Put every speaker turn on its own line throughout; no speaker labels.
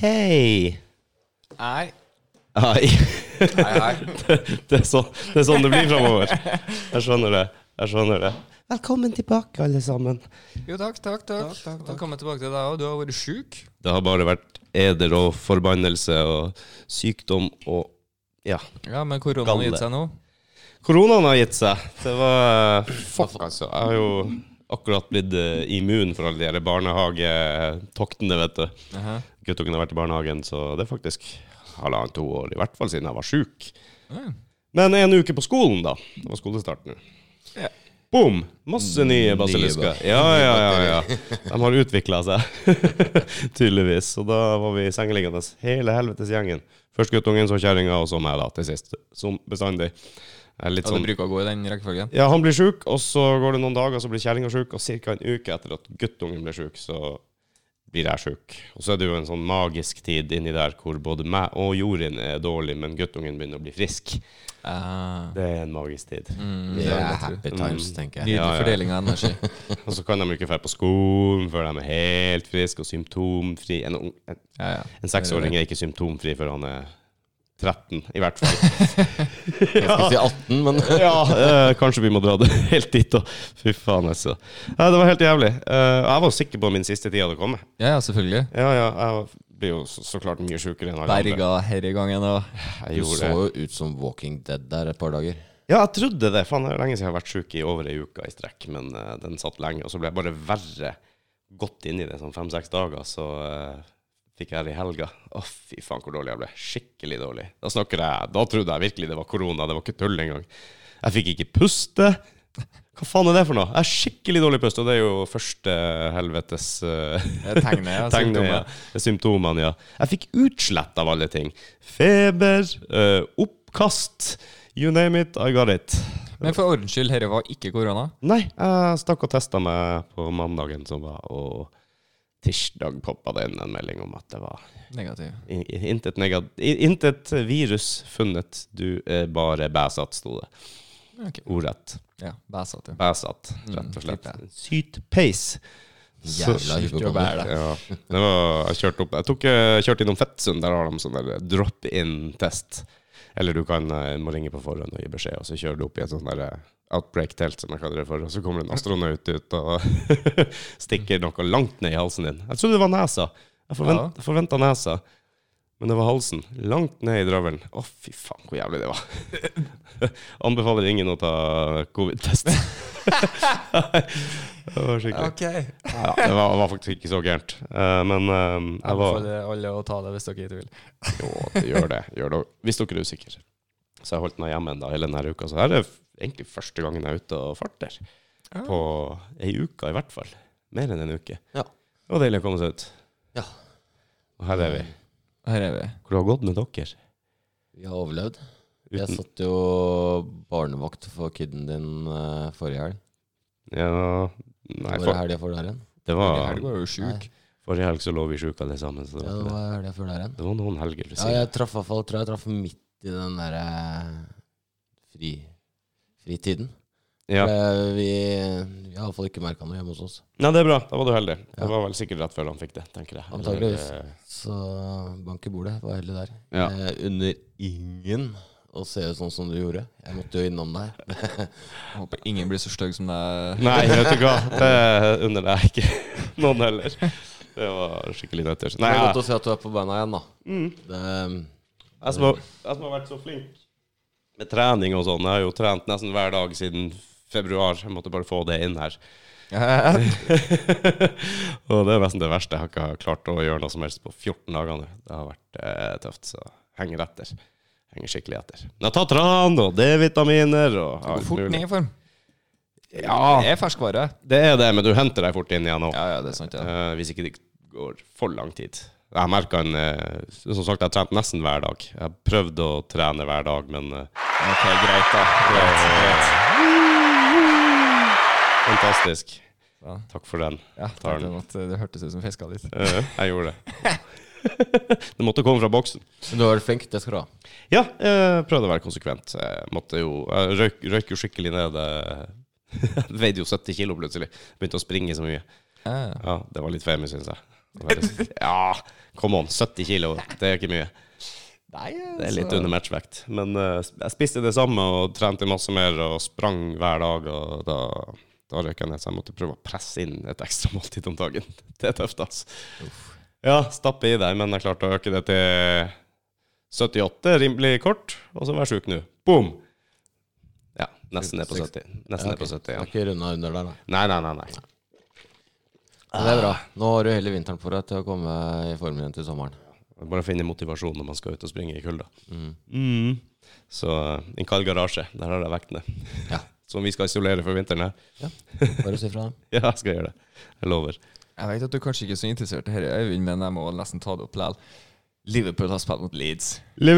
Hei!
Nei.
Ai.
Nei, nei.
Det er, så, det er sånn det blir framover. Jeg skjønner det. Jeg skjønner det. Velkommen tilbake, alle sammen.
Jo, takk, takk, takk. Velkommen tilbake til deg òg. Du har vært sjuk.
Det har bare vært eder og forbannelse og sykdom og Ja.
Ja, men koronaen har
Galle.
gitt seg nå.
Koronaen har gitt seg. Det var Fuck, altså. Jeg har jo akkurat blitt eh, immun for alle de her barnehagetoktene, vet du.
Aha.
Guttungen har vært i barnehagen, så det er faktisk halvannet to år, i hvert fall siden jeg var sjuk.
Ja.
Men en uke på skolen, da. Det var skolestart nå.
Ja.
Boom! Masse nye basilisker.
ba-
Ja, ja, ja, ja. De har utvikla seg, tydeligvis. Og da var vi sengeliggende hele helvetes gjengen. Først guttungen, så kjerringa, og så meg, da, til sist. Som bestandig. Jeg er Litt
Ja, det
sånn
bruker å gå i den rekkefølgen.
ja, han blir sjuk, og så går det noen dager, så blir kjerringa sjuk, og ca. en uke etter at guttungen ble sjuk, så blir jeg sjuk. Og så er det jo en sånn magisk tid inni der hvor både meg og Jorin er dårlig, men guttungen begynner å bli frisk.
Ah.
Det er en magisk tid.
Mm,
Det er
det vil jeg tro.
happy times, tenker jeg.
Nydelig
Ja, ja.
fordeling av energi.
Og så kan de jo ikke dra på skolen før de er helt friske og symptomfri. En, ung- en,
Ja, ja.
en seksåring er ikke symptomfri før han er 13, i hvert fall.
Jeg skal si 18, men
Ja, eh, kanskje vi må dra det helt dit, da. Fy faen, altså. Ja, det var helt jævlig. Eh, jeg var sikker på at min siste tid hadde kommet.
ja, ja, selvfølgelig.
Ja, ja, jeg blir jo så, så klart mye sjukere enn alle andre.
Berga herre gangen òg.
Jeg
du
gjorde
så
det.
jo ut som Walking Dead der et par dager.
Ja, jeg trodde det. Faen, det er lenge siden jeg har vært sjuk i over ei uke i strekk, men eh, den satt lenge. Og så ble jeg bare verre godt inni det, sånn fem-seks dager, så eh, fikk jeg det i helga. Å, fy faen, hvor dårlig jeg ble. Skikkelig dårlig. Da snakker jeg Da trodde jeg virkelig det var korona, det var ikke tull engang. Jeg fikk ikke puste. Hva faen er det for noe? Jeg har skikkelig dårlig pust, og det er jo første helvetes eh,
Tegnet ja,
Tegnet,
symptomer.
ja. Symptomene, ja. Jeg fikk utslett av alle ting. Feber, eh, oppkast, you name it, I got it.
Men for ordens skyld, herre var ikke korona.
Nei, jeg stakk og testa meg på mandagen som var, og tirsdag poppa det inn en melding om at det var
Negativ.
i- i- intet, nega- i- intet virus funnet, du er bare bæsatt, sto det.
Ok.
Ordrett.
Ja, bæsete.
Bæsatt, rett og slett.
Mm,
Syt peis. Så-
Jævla hypokonder.
bære
Ja, det var, jeg kjørte opp Jeg tok, eh, kjørte innom Fettsund, der har de sånn der drop-in-test. Eller du kan eh, må ringe på forhånd og gi beskjed, og så kjører du opp i et sånn der eh, outbreak-telt, som jeg kaller det for, og så kommer det en astronaut ut og stikker noe langt ned i halsen din. Jeg trodde det var nesa. Jeg
Ja.
forvent, forventa nesa. Men det var halsen. Langt ned i dravelen. Å, fy faen, hvor jævlig det var. Anbefaler ingen å ta covid-test. det var skikkelig
Ok. Jeg
ja, det var, var faktisk ikke så gærent. Eh, men eh, jeg var
anbefaler alle å ta det hvis dere ikke vil.
Jo, gjør det. Gjør det. Hvis dere er usikre. Så jeg holdt meg hjemme enda hele denne uka. Så her er f- egentlig første gangen jeg er ute og farter.
Ja.
På ei uke, i hvert fall. Mer enn en uke.
Ja.
Det var deilig å komme seg ut.
Ja.
Og her er vi.
Her er vi.
Hvor det har gått med dere?
Vi har overlevd. Jeg
Uten,
satt jo barnevakt for kiden din eh, forrige helg.
ja,
Var
nei,
det
for,
helga før der igjen?
det
Helge
var
Helge var jo sjuk.
Nei.
Forrige helg så lå vi sjuke alle sammen. Så det,
Ja, det
var ikke det.
var helga før der igjen.
det var noen helger. du
Ja,
sier.
jeg traff i hvert fall, tror jeg traff midt i den derre fri, fritiden.
ja.
For Vi, vi har iallfall ikke merka noe hjemme hos oss.
Nei, det er bra. Da var du heldig.
Ja.
Det var vel sikkert rett før han fikk det, tenker jeg. Eller,
Antageligvis.
eh,
Så bank i bordet, var heldig der.
Ja.
Eh, under ingen å se ut sånn som du gjorde. Jeg måtte jo innom deg.
Håper ingen blir så stygg som deg.
Nei, vet du hva. Det unner jeg ikke noen heller. Det var skikkelig nøtter.
Det
Nei,
er godt
jeg,
å se at du er på beina igjen, da. Det, um,
jeg, som har, jeg som har vært så flink med trening og sånn, jeg har jo trent nesten hver dag siden februar. Jeg måtte bare få det inn her. og det er nesten det verste. Jeg har ikke klart å gjøre noe som helst på 14 dager nå. Det har vært eh, tøft, så henger etter. Henger skikkelig etter. Men jeg har tatt tran og D-vitaminer og
Gå fort ned i form. Det er ferskvare.
Det er det, men du henter deg fort inn igjen òg.
Ja, ja, det er sant, ja.
Eh, hvis ikke det går for lang tid. Jeg merka en eh, Som sagt, jeg har trent nesten hver dag. Jeg har prøvd å trene hver dag, men eh,
Ok, greit, da. Greit, greit.
fantastisk.
Bra.
Takk for den.
Ja,
Tar
tenkte at eh, det hørtes ut som fiska litt.
Eh, jeg gjorde det. det måtte komme fra boksen.
Men du har vært flink, det skal du ha.
Ja, eh, prøvde å være konsekvent. Jeg måtte jo Jeg røyk, røyk jo skikkelig ned. eh, Veide jo 70 kilo plutselig. Begynte å springe så mye.
Ja, ja.
Ja, Det var litt femi, syns jeg. Veldig- Ja, come on. 70 kilo, det er ikke mye.
Nei, altså,
Det er litt under matchvekt. Men eh, jeg spiste det samme og trente masse mer og sprang hver dag. Og da, da røyk jeg ned, så jeg måtte prøve å presse inn et ekstra måltid om dagen. Det er tøft, altså. Ja, stappe i deg, men jeg klarte å øke det til 78, rimelig kort, og så vær sjuk nå. Boom! Ja, nesten ned på 70. Nesten ned på 70
Jeg har
igjen.
ikke runda under der, nei.
Nei, nei, nei. nei.
Men det er bra. Nå har du hele vinteren på deg til å komme i formen igjen til sommeren.
Bare finne motivasjon når man skal ut og springe i kulda.
Mm.
Så eh, en kald garasje, der har jeg vektene.
Ja.
Som vi skal isolere for vinteren her.
Bare si fra.
Ja, jeg skal gjøre det. Jeg lover.
Jeg vet at du kanskje ikke er så interessert i dette, Øyvind, men jeg må nesten ta det opp likevel. Liverpool har spilt mot Leeds.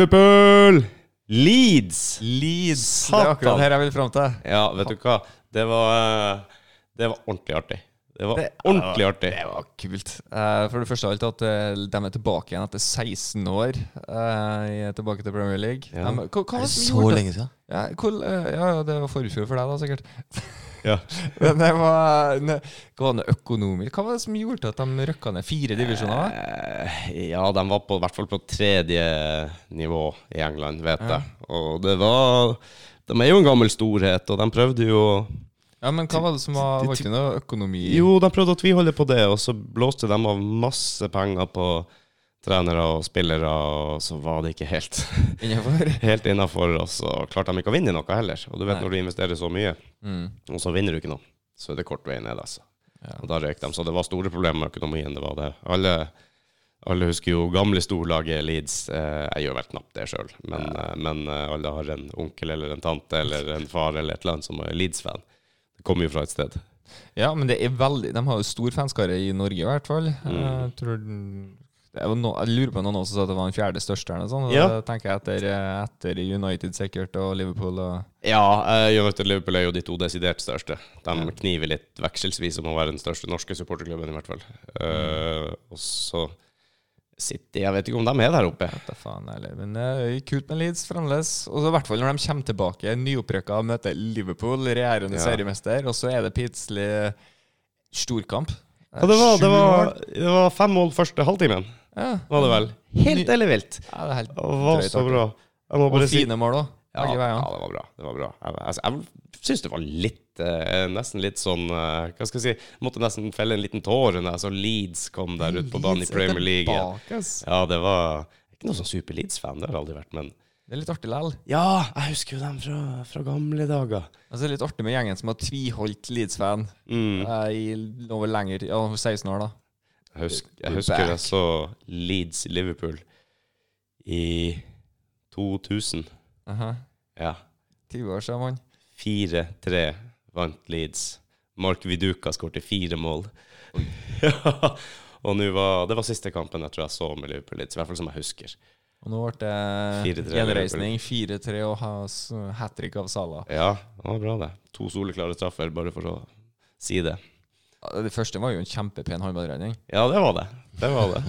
Liverpool! Leeds!
Leeds! Det er
Satan.
akkurat her jeg vil fram til.
Ja, vet du hva? Det var eh, Det var ordentlig artig. Det var ordentlig artig.
Det var kult. Eh, for det første av alt at eh, de er tilbake igjen etter 16 år. eh, i- tilbake til Premier League.
Ja.
De- hva,
Er
hva var
det
det som
så
gjorde det?
lenge siden?
Ja, hvor, eh, ja, ja, det var forfjor for deg, da, sikkert.
Ja.
Men det var ne, Hva var det økonomisk Hva var det som gjorde at de røkka ned fire divisjoner?
Eh, Ja, de var på, i hvert fall på tredje nivå i England, vet jeg. Og det var De er jo en gammel storhet, og de prøvde jo å
Ja, men hva var det som var Var ikke noe økonomi
Jo, de prøvde å tviholde på det, og så blåste de av masse penger på trenere og spillere, og så var det ikke helt
innenfor?
Helt innafor, og så klarte de ikke å vinne noe heller. Og du vet
Nei.
når du investerer så mye,
Mm.
og så vinner du ikke noe, så er det kort vei ned, altså.
Ja.
Og da røyk de, så det var store problemer med økonomien, det var det. Alle, alle husker jo gamle storlaget Leeds. Eh, jeg gjør vel knapt det sjøl, men, eh, men eh, alle har en onkel eller en tante eller en far eller et eller annet som er Leeds-fan. Det kommer jo fra et sted.
ja, men det er veldig De har jo stor fanskare i Norge, i hvert fall.
Mm.
Jeg tror den- det var no, Jeg lurer på noen også sa at det var den fjerde største, eller noe sånt. og
Ja.
Det tenker jeg etter, eh, etter United sikkert, og Liverpool og
Ja, eh, United og Liverpool er jo de to desidert største. De kniver litt vekselvis om å være den største norske supporterklubben, i hvert fall. Eh, og så City Jeg vet ikke om de er der oppe.
Da faen eller, Men det er kult med Leeds fremdeles. Og så i hvert fall når de kommer tilbake nyopprykka og møter Liverpool, regjerende
Ja.
seriemester, og så er det plutselig storkamp.
Ja, det, var, det, var,
Sju mål.
det var fem mål første halvtimen,
ja.
var det vel? Helt eller vilt.
ja, det er helt
Det var så bra. Jeg må
Og
bare si
fine mål òg.
Ja, ja, det var bra. Det var bra. Jeg, altså, jeg syns det var litt eh, Nesten litt sånn eh, Hva skal jeg si? Måtte nesten felle en liten tåre når jeg så Leeds kom der ut på banen i Premier League. igjen. Ja, det var jeg er Ikke noe sånn super Leeds-fan, det har jeg aldri vært, men
Det er litt artig likevel.
Ja, jeg husker jo dem fra, fra gamle dager.
Altså, det er litt artig med gjengen som har tviholdt Leeds-fan
Mm.
eh, i over lenger Ja, over 16 år, da.
Jeg husker,
We're
jeg husker
back.
jeg så Leeds-Liverpool i 2000.
Aha.
Ja.
20 år siden, mann.
4-3 vant Leeds. Mark Viduka skårte fire mål. Ja. Og nå var, det var siste kampen jeg tror jeg så med Liverpool Leeds, i hvert fall som jeg husker.
Og nå ble det
4-3
gjenreisning. 4-3 og hat trick av Salah.
Ja, det var bra, det. To soleklare straffer, bare for å si det.
Ja, Det første var jo en kjempepen håndballredning.
Ja, det var det. Det var det.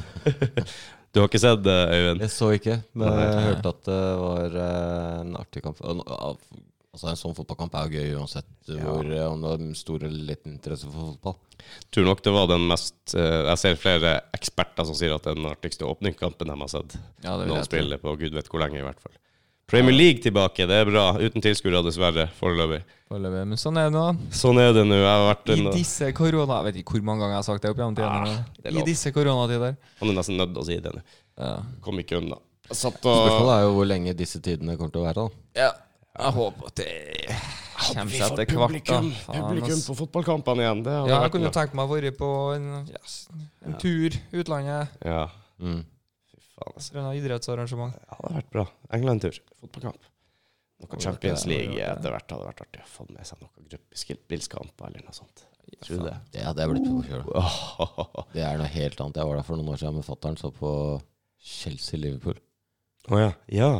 du har ikke sett det, Øyvind?
Jeg så ikke, men
Nei.
jeg hørte at det var eh, en artig kamp. Og nå- av- Altså En sånn fotballkamp er jo gøy uansett hvor, eh, om du har stor eller liten interesse for fotball.
Tror nok det var den mest eh, Jeg ser flere eksperter som sier at det er den artigste åpningskampen de har sett.
Ja, det vil
Noen
jeg tro.
spiller på gud vet hvor lenge, i hvert fall. Premier League tilbake, det er bra. Uten tilskuere, dessverre, foreløpig.
Foreløpig. Men sånn er det nå.
Sånn er det nå. Jeg har vært
I
en,
disse korona... Jeg vet ikke hvor mange ganger jeg har sagt det opp gjennom tidene.
det er
I
lov.
disse koronatider.
Han er nesten nødt til å si det nå.
Ja.
Kom ikke unna. Jeg satt og
Spørsmålet er jo hvor lenge disse tidene kommer til å være. da
Jeg håper at det kommer seg etter hvert. da. Faen, ass.
på fotballkampene igjen. Det
Ja, jeg kunne tenke meg å være på en, yes, en tur utlandet.
Ja.
mm.
Fy faen, altså.
Grunna idrettsarrangement.
Ja, det hadde vært bra. England-tur. Fotballkamp. Noe Champions League etter hvert hadde vært artig å få med seg noe gruppespillkamper eller noe sånt. Tror du det?
Det hadde jeg blitt på sjøl.
Åh,
Det er noe helt annet. Jeg var der for noen år siden med fatter'n, så på Chelsea-Liverpool.
Å ja. Ja,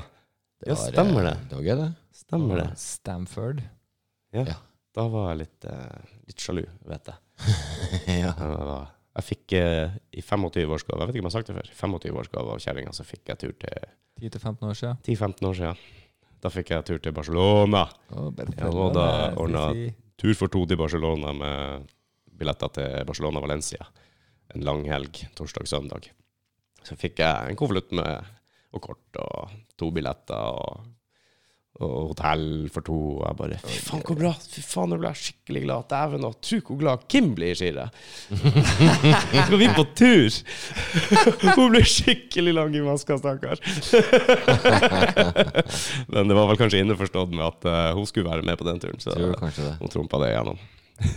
var,
Ja,
eh,
stemmer det.
Det var gøy, det.
stemmer det.
Stamford.
Da var jeg litt, eh, litt sjalu, vet jeg.
ja.
Jeg var- Jeg fikk eh, i 25-årsgave, jeg vet ikke om jeg har sagt det før, i 25-årsgave av kjerringa, så fikk jeg tur til
10-15 år siden.
10-15 år siden. Da fikk jeg tur til Barcelona. Ja, og da ordnet- Tur for to til Barcelona med billetter til Barcelona-Valencia. En lang helg, torsdag-søndag. Så fikk jeg en konvolutt med og kort og to billetter og, og hotell for to. Og jeg bare Fy faen, hvor bra! Fy faen, nå ble jeg skikkelig glad. Dæven, og tro hvor glad Kim blir, sier jeg. Nå skal vi på tur! Hun blir skikkelig lang i maska, stakkar. Men det var vel kanskje innforstått med at eh, hun skulle være med på den turen. Så
Tror kanskje det.
hun trumpa det igjennom.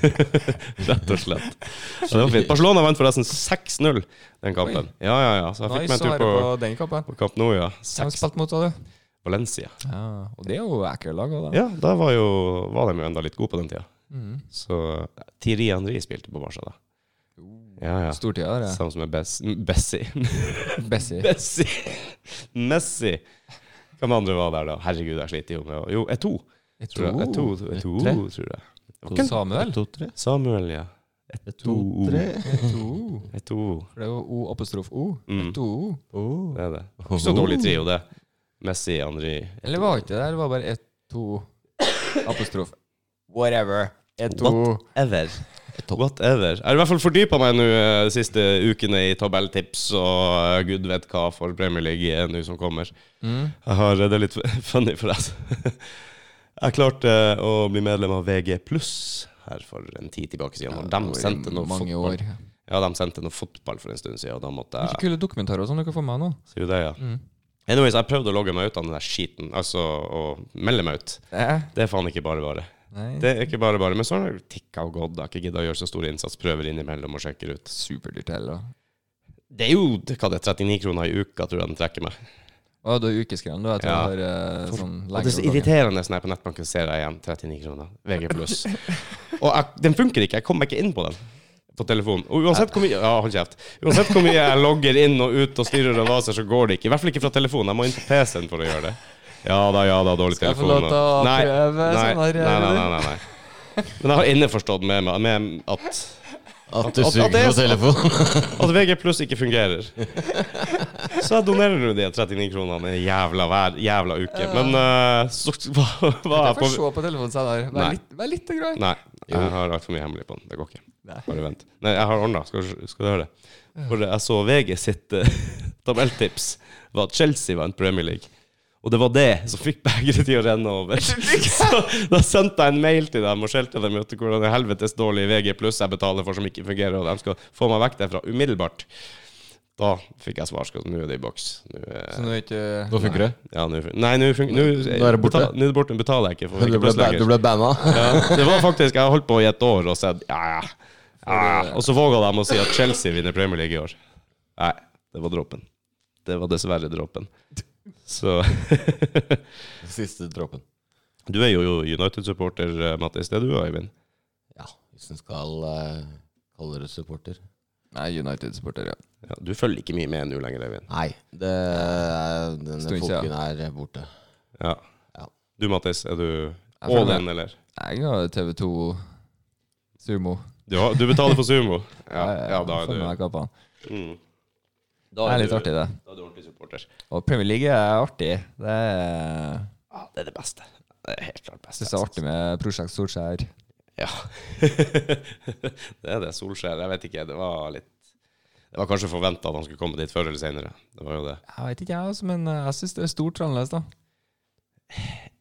Rett og slett. Så det var fint. Barcelona vant forresten 6-0 den kampen. Ja, ja, ja. Så jeg fikk meg
Nice
en
å
tur
være
på,
på den kampen.
på Camp Nou, ja.
Hvem
6
spilte mot, sa du?
Valencia.
Ja, og det er jo Acker-lag òg, da.
Ja, da var, jo, var de jo enda litt gode på den tida.
Mm.
Så Thierry Henry spilte på Barca da. Ja, Uh, ja.
Stortida, det.
Samme som er Bess Bessie.
Bessie.
Bessie! Messi! Hvem andre var der, da? Herregud, jeg sliter jo med å Jo, Eto,
Jeg
tror jeg. Eto, Eto,
Tre.
tror jeg. Det var ikke en-
Samuel.
To, tre.
Samuel, ja.
To, tre.
To.
Eto.
For det er jo O apostrof O.
Mm.
To.
Det er det. Ikke så dårlig trio, det. Messi, Henry
Eller var ikke det der? Det var bare ett, to apostrof Whatever. Ett, to.
What? Ever. Whatever. Jeg har i hvert fall fordypa meg nå eh, de siste ukene i tabelltips og eh, gud vet hva for Premier League eh, nå som kommer.
Mm.
Jeg har, eh, det er litt funny, forresten. Jeg klarte eh, å bli medlem av VG pluss her for en tid tilbake siden. Og de sendte noe
mange
fotball.
år.
Ja, de sendte noe fotball for en stund siden, og da måtte
Mye
jeg
kule dokumentarer og sånn dere får med nå.
Sier du det, ja?
Mm.
Anyways, jeg prøvde å logge meg ut av den der skiten, altså å melde meg ut.
Eh,
Det er faen ikke bare bare.
nei.
Det er ikke bare bare, men så har det tikka og gått. Jeg har ikke gidda å gjøre så stor innsats. Prøver innimellom og sjekker ut.
Superdyrt heller.
Det er jo hva det er, 39 kroner i uka, tror jeg den trekker meg.
Å, du er ukeskreven, du. Jeg tror
Ja.
jeg har eh, sånn
Og det er så
lenge
irriterende når jeg på nettbanken ser jeg igjen 39 kroner. VG pluss. Og jeg, den funker ikke. Jeg kommer meg ikke inn på den på telefonen. Og uansett hvor mye Ja, hold kjeft. Uansett hvor mye jeg logger inn og ut og styrer og vaser, så går det ikke. I hvert fall ikke fra telefonen. Jeg må inn på PC-en for å gjøre det. Ja da, ja da, dårlig
Skal jeg få
telefon.
lov
og-
til å
Nei,
prøve
nei,
sånn her,
Nei, nei,
eller?
nei. nei, nei. Men jeg har innforstått med meg med at
At du
At- at- at det
suger
er
på
så-
telefonen.
At VG pluss ikke fungerer. Så jeg donerer nå de 39 kronene en jævla hver jævla uke. Men eh, så hva, hva
Jeg
er
får
på
se på telefonen senere.
Nei.
Vær litt, vær litt grei.
Nei, jeg har altfor mye hemmelig på den. Det går ikke.
Nei.
Bare vent. Nei, jeg har ordna. Skal, du- skal du høre det? For jeg så VG sitt eh, tabelltips var at Chelsea vant Premier League. Og det var det som fikk begeret til å renne over. Så da sendte jeg en mail til dem og skjelte dem ut hvordan i helvetes dårlig VG pluss jeg betaler for som ikke fungerer, og de skal få meg vekk derfra umiddelbart. Da fikk jeg svar. Skal nå er det i boks. Nå
Så
er
nå er ikke
Nå funker det.
ja, nå fun- Nei, nå fun-
Nå er det borte.
betal- Nå er det borte. Nå betaler jeg ikke for
Du
VG
ble,
pluss
ba-
lenger.
du ble banna.
Ja, det var faktisk Jeg har holdt på i et år og sett ja, ja, ja. Og så våga de å si at Chelsea vinner Premier League i år. Nei, det var dråpen. Det var dessverre dråpen. Så
Siste dråpen.
Du er jo United-supporter, eh, Mattis. Det er du, Eivind.
Ja, hvis en skal eh, kalle det supporter.
Nei, United-supporter, ja.
Ja, du følger ikke mye med nå lenger, Eivind.
Nei, det, er- denne
Stund siden.
folken er borte.
Ja.
Ja.
Du, Mattis, er du
Jeg
all
følger
in, eller?
Jeg har TV2 Sumo.
Du, har, du betaler for sumo? Ja,
Jeg-
ja da
jeg
er
får
du
med meg kappene.
mm.
Det
Da
er
er
litt
du,
artig, det.
da er du ordentlig supporter.
Og Premier League er artig. Det er
Ja, det er det beste. Det er helt klart
Jeg
beste.
syns det er artig med Prosjekt Solskjær.
Ja. det er det. Solskjær. Jeg vet ikke. Det var litt Det var kanskje forventa at han skulle komme dit før eller senere. Det var jo det.
Jeg vet ikke, jeg, altså, men eh, jeg syns det er stort annerledes, da.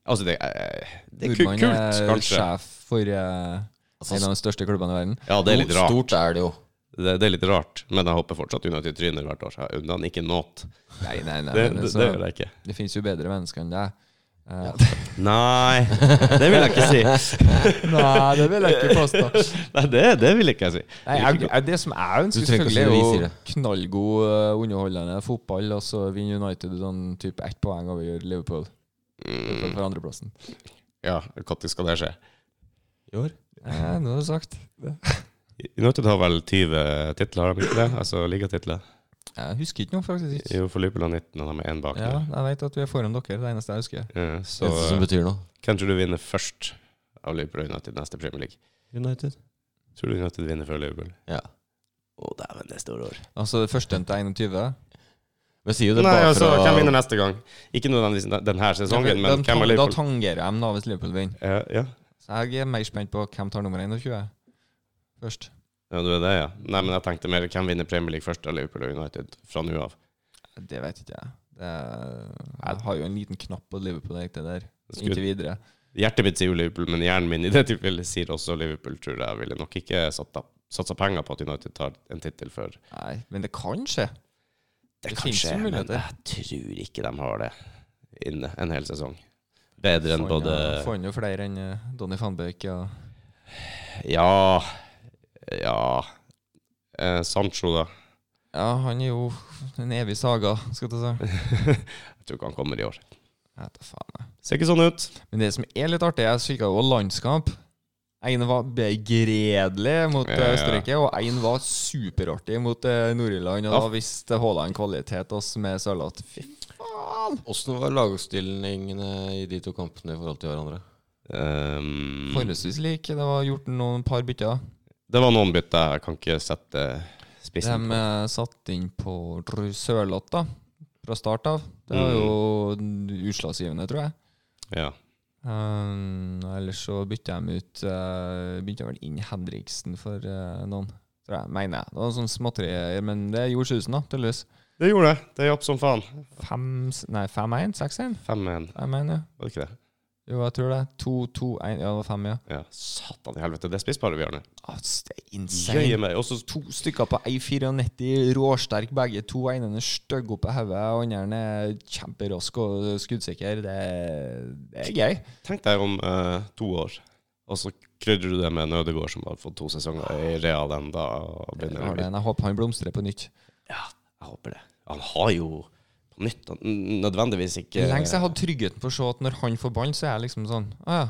Altså, det, er- det er ku-
Nordmann
kult,
er
kanskje.
sjef for eh,
Altså,
en av de største klubbene i verden.
Ja, det er litt rart.
Stort er det jo.
Det, det er litt rart, men jeg håper fortsatt United tryner hvert år. Jeg unner han ikke nåt.
Nei, nei, nei.
Det,
men
det,
altså,
det gjør jeg ikke.
Det finnes jo bedre mennesker enn deg. Eh,
Nei, det vil jeg ikke si.
Nei, det vil jeg ikke påstå.
Nei, det, det vil jeg ikke si.
Nei, jeg, jeg, det som jeg ønsker,
Du trenger ikke å
selvfølgelig,
si
er jo
det.
knallgod, eh, underholdende fotball, og så vinner United sånn type ett poeng over Liverpool. for,
Mm.
for andreplassen.
Ja, når skal det skje?
I år?
Eh, nå har du sagt.
United har vel 20 titler, har de ikke det? Altså ligatitler.
Jeg husker ikke noe, faktisk. ikke.
Jo, for Liverpool har 19, og de er én bak.
Ja,
nå.
jeg vet at vi er foran dere. Det er det eneste jeg husker.
Ja, så
Det eneste som betyr noe.
kan ikke du vinne først av Liverpool og United neste Premier League?
United.
Tror du United vinner før Liverpool?
Ja.
Å, dæven, det er store år.
Altså det første til 21.
Men sier jo det
Nei,
bare
altså,
for å
hvem vinner neste gang? Ikke nødvendigvis denne sesongen,
da,
men hvem er
da
Liverpool?
tangerer jeg da hvis Liverpool vinner.
Ja, ja.
Så jeg er mer spent på hvem tar nummer 21 først.
ja, du er det, ja. Nei, men jeg tenkte mer hvem vinner Premier League først av Liverpool og United fra nå av?
Det vet ikke jeg. Det er, jeg har jo en liten knapp på Liverpool egentlig der.
Skulle-
Inntil videre.
Hjertet mitt sier jo Liverpool, men hjernen min i det tilfellet sier også Liverpool, tror jeg. Jeg ville nok ikke satt av- satsa penger på at United tar en tittel før.
Nei, men det kan skje.
Det,
Det
kan
finnes
skje,
jo
men
muligheter.
jeg tror ikke de har det inne en hel sesong. Bedre enn
Fant jo-
både
Fant jo flere enn eh, Donny van Beek og
Ja Ja eh, Sancho, da.
Ja, han er jo en evig saga, skal jeg si.
Jeg tror ikke han kommer i år.
Jeg vet da faen. jeg.
Ser ikke sånn ut.
Men det som er litt artig, jeg kikka jo landskamp. Én var begredelig mot
Ja,
eh,
ja.
Østerrike, og én var superartig mot eh, Nord-Irland. Og
Ja.
da viste Haaland kvalitet oss med sørlat. Fy faen!
Åssen var lagstillingene i de to kampene i forhold til hverandre?
Um,
Forholdsvis lik. Det var gjort noen par bytter.
det var noen bytter. Jeg kan ikke sette
De
spissen på.
eh, satt inn på Dr- Sørloth, da. Fra start av. Det
Mm.
var jo utslagsgivende, tror jeg.
Ja.
Um, ellers så bytta de ut uh, Begynte vel inn Henriksen for eh, noen, tror jeg. Mener jeg. Det var sånn småtterier, men det gjorde susen, da, tydeligvis.
Det gjorde det. Det hjalp som faen.
Fem, s- nei, 5-1? 6-1?
5-1,
Jeg mener,
var det ikke det?
jo, jeg tror det. 2-2-1 Ja, det var fem, ja.
Ja. Satan i helvete, det er spissparet vi har nå.
Ah, det er
Jøye
insane.
meg. Og så
To stykker på 1,94, råsterk begge to. Den ene er stygg oppå hodet, og den andre er kjemperask og skuddsikker. Det, det er gøy.
Tenk deg om eh, to år, og så krydrer du det med en Ødegård som har fått to sesonger i Real enda. Og
Jeg,
begynner å bli-
jeg håper han blomstrer på nytt.
Jeg håper det. Han har jo på nytt han- n- nødvendigvis ikke
Lenge siden jeg hadde tryggheten for å se at når han får ballen, så er jeg liksom sånn Å ja,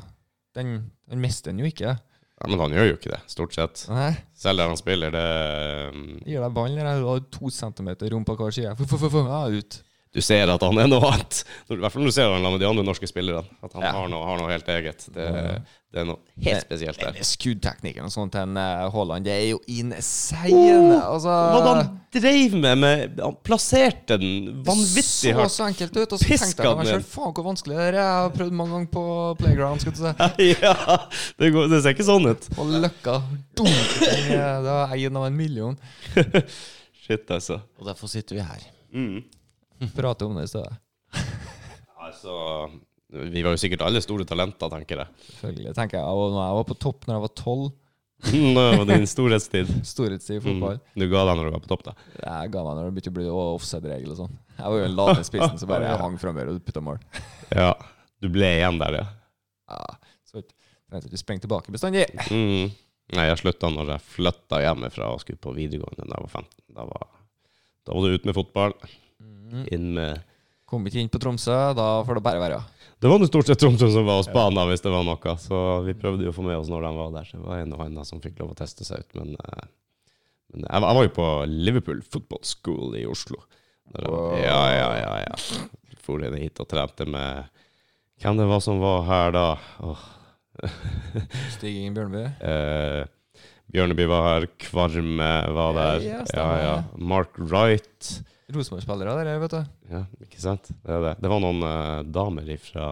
den, den mister den jo ikke.
ja, Men han gjør jo ikke det, stort sett.
Nei,
Selv der han spiller, det um,
jeg gir deg ballen, eller jeg har to centimeter rom på hver side. Få, få, få, få, ja, ut.
Du ser at han er noe annet. Når- I hvert fall når du ser han sammen med de andre norske spillerne. At han
Ja.
har, noe, har noe helt eget. Det,
Ja.
det er noe helt spesielt der.
Den skuddteknikken og sånt til en, eh, Haaland, det er jo insane! altså
Hva han dreiv med, med Han plasserte den vanvittig
så
hardt.
så enkelt ut, og så
Pisk
tenkte jeg
han
meg
ned.
selv faen hvor vanskelig det er. Jeg har prøvd mange ganger på playground, skal du si.
ja, det, går, det ser ikke sånn ut.
På Løkka. Dunk! Den, eh, Det var én av en million.
Shit, altså.
Og derfor sitter vi her.
Mm.
Prate om det i stedet.
Altså Vi var jo sikkert alle store talenter, tenker jeg.
Selvfølgelig. tenker jeg, og når jeg var på topp når jeg var tolv,
Nå var din storhetstid.
storhetstid i
Mm.
fotball.
Du ga deg når du var på topp, da.
Jeg ga meg når det begynte å bli offside-regel og sånn. Jeg var jo den lave spissen som bare hang framover og putta mål.
Ja. Du ble igjen der, ja.
Ja, så jeg trengte ikke sprenge tilbake bestandig.
Mm. Nei, jeg slutta når jeg flytta hjemmefra og skulle på videregående da jeg var 15. Da var, da var det ut med fotball, inn med
Kom ikke inn på Tromsø, da får det bare være.
Det var nå stort sett Tromsø som var hos Bana, hvis det var noe. Så vi prøvde jo å få med oss når de var der. Så det var en og annen som fikk lov å teste seg ut. Men, eh, men jeg, var- jeg var jo på Liverpool Football School i Oslo. Der jeg var- Ja, ja, ja. ja. For inn hit og trente med Hvem det var som var her da? Åh,
Stig Ingen Bjørnby.
eh, Bjørneby var her, Kvarme var der.
Ja, ja,
Ja,
stemmer.
ja. Mark Wright.
Rosenborg-spillere der, vet du.
Ja, ikke sant? Det, er det. det var noen eh, damer fra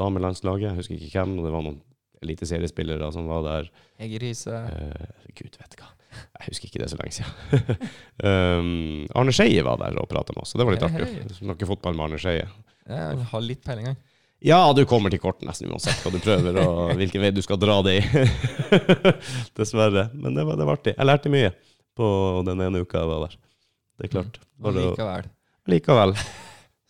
damelandslaget, jeg husker ikke hvem, og det var noen eliteseriespillere som var der.
Hege Riise.
Eh, Gud vet hva. Jeg husker ikke det så lenge siden. um, Arne Skeie var der og prata med oss, så det var litt
Hei,
artig. Noe fotball med Arne Skeie.
Ja, Han har litt peiling, han.
Ja, du kommer til kort nesten uansett hva du prøver, og hvilken vei du skal dra det i. Dessverre. Men det var, det var artig. Jeg lærte mye på den ene uka jeg var der. Det er klart.
Men
Bare å-
likevel.
Likevel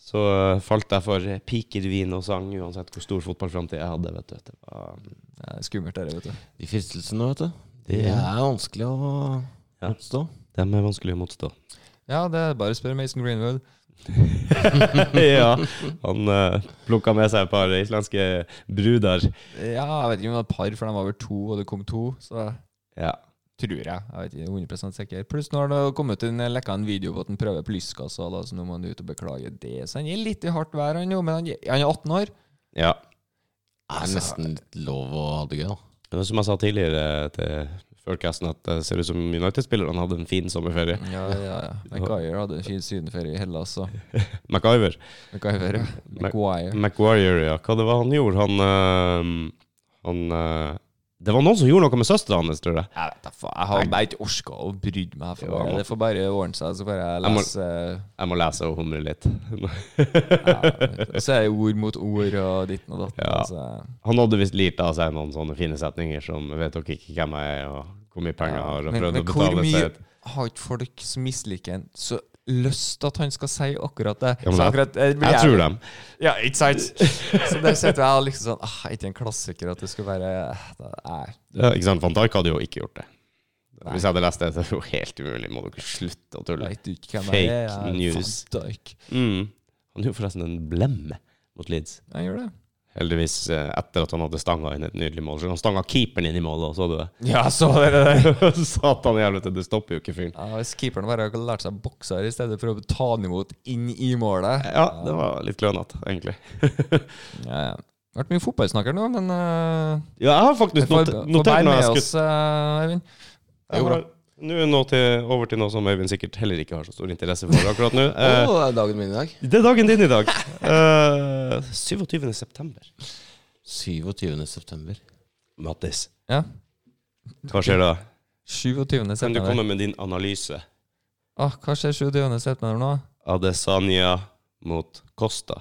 så eh, falt jeg for eh, piker, vin og sang, uansett hvor stor fotballframtid jeg hadde. vet du. Det var,
Det er skummelt, det der, vet du.
De fristelsene, vet du. De
Ja.
er vanskelig å
Ja.
motstå.
Dem er vanskelig å motstå.
Ja, det er bare å spørre Mason Greenwood.
ja, han uh, plukka med seg et par islandske bruder.
Ja, jeg vet ikke om det var et par, for de var over to, og det kom to. Så
Ja.
tror jeg. Jeg vet ikke, 100 sikker. Pluss nå har det kommet en lekka en video på at han prøver plyskkassa, da, så nå må han ut og beklage det. Så han gir litt i hardt vær, han jo, men han, han er 18 år.
ja.
Det
Altså-
er nesten litt lov å ha det gøy, da.
Det var som jeg sa tidligere til Førcasten, at det ser ut som United-spillerne hadde en fin sommerferie.
Ja, ja, ja. McGuire hadde en fin sydenferie i Hellas, så
MacGyver.
McGuire, ja. McGuire.
McGuire, ja. Hva det var han gjorde? Han, øhm, han øh, Det var noen som gjorde noe med søstera hans, tror jeg.
Jeg vet da faen. Jeg har bare ikke orka å bry meg. For
Jo, jeg
det.
må-
det får bare ordne seg, så får jeg
Jeg må-
lese
Jeg må lese og humre litt.
ja, Så er det ord mot ord og ditten og datten.
Ja.
Altså.
Han hadde visst lirt av seg noen sånne fine setninger som Vet dere ikke hvem jeg er, og hvor mye penger jeg har, og
Men,
prøvd
men
å
hvor
betale
mye
seg
har ikke folk som misliker en, så lyst at han skal si akkurat det?
Ja, men
så
jeg-
akkurat, det blir
Jeg
jævlig-
tror dem.
Ja, ikke sant? så der sitter jeg og liksom sånn ah, Ikke en klassiker at det skulle være det er.
Ja, ikke sant? Van Dijk hadde jo ikke gjort det.
Nei.
Hvis jeg hadde lest det, så er det jo helt umulig. Må dere slutte å
Jeg
tulle?
vet ikke hvem jeg er.
Fake news.
Fanta ikke.
Mm. Han gjorde forresten en blemme mot Leeds.
Jeg gjør det.
Heldigvis eh, etter at han hadde stanga inn et nydelig mål. Så han stanga keeperen inn i målet, og så du det?
Ja, så dere det.
Satan i helvete, det stopper jo ikke fyren.
Ja, hvis keeperen bare hadde lært seg bokser i stedet for å ta han imot inn i målet
Ja, det var litt klønete, egentlig.
Ja, ja. Det har vært mye fotballsnakker nå, men eh,
Ja, jeg har
det
faktisk
får,
noter-
får
notert
bære
når jeg
med
har
oss,
skutt.
eh, Eivind.
Jeg har- Nå er nå til, over til noe som Øyvind sikkert heller ikke har så stor interesse for akkurat nå. Eh,
Å, det er dagen min i dag.
det er dagen din i dag. Eh, 27. september.
27. september.
Mattis,
Ja.
hva skjer da?
27.
Kan du
september.
komme med din analyse?
Ah, hva skjer 27. september nå?
Adesanya mot Costa.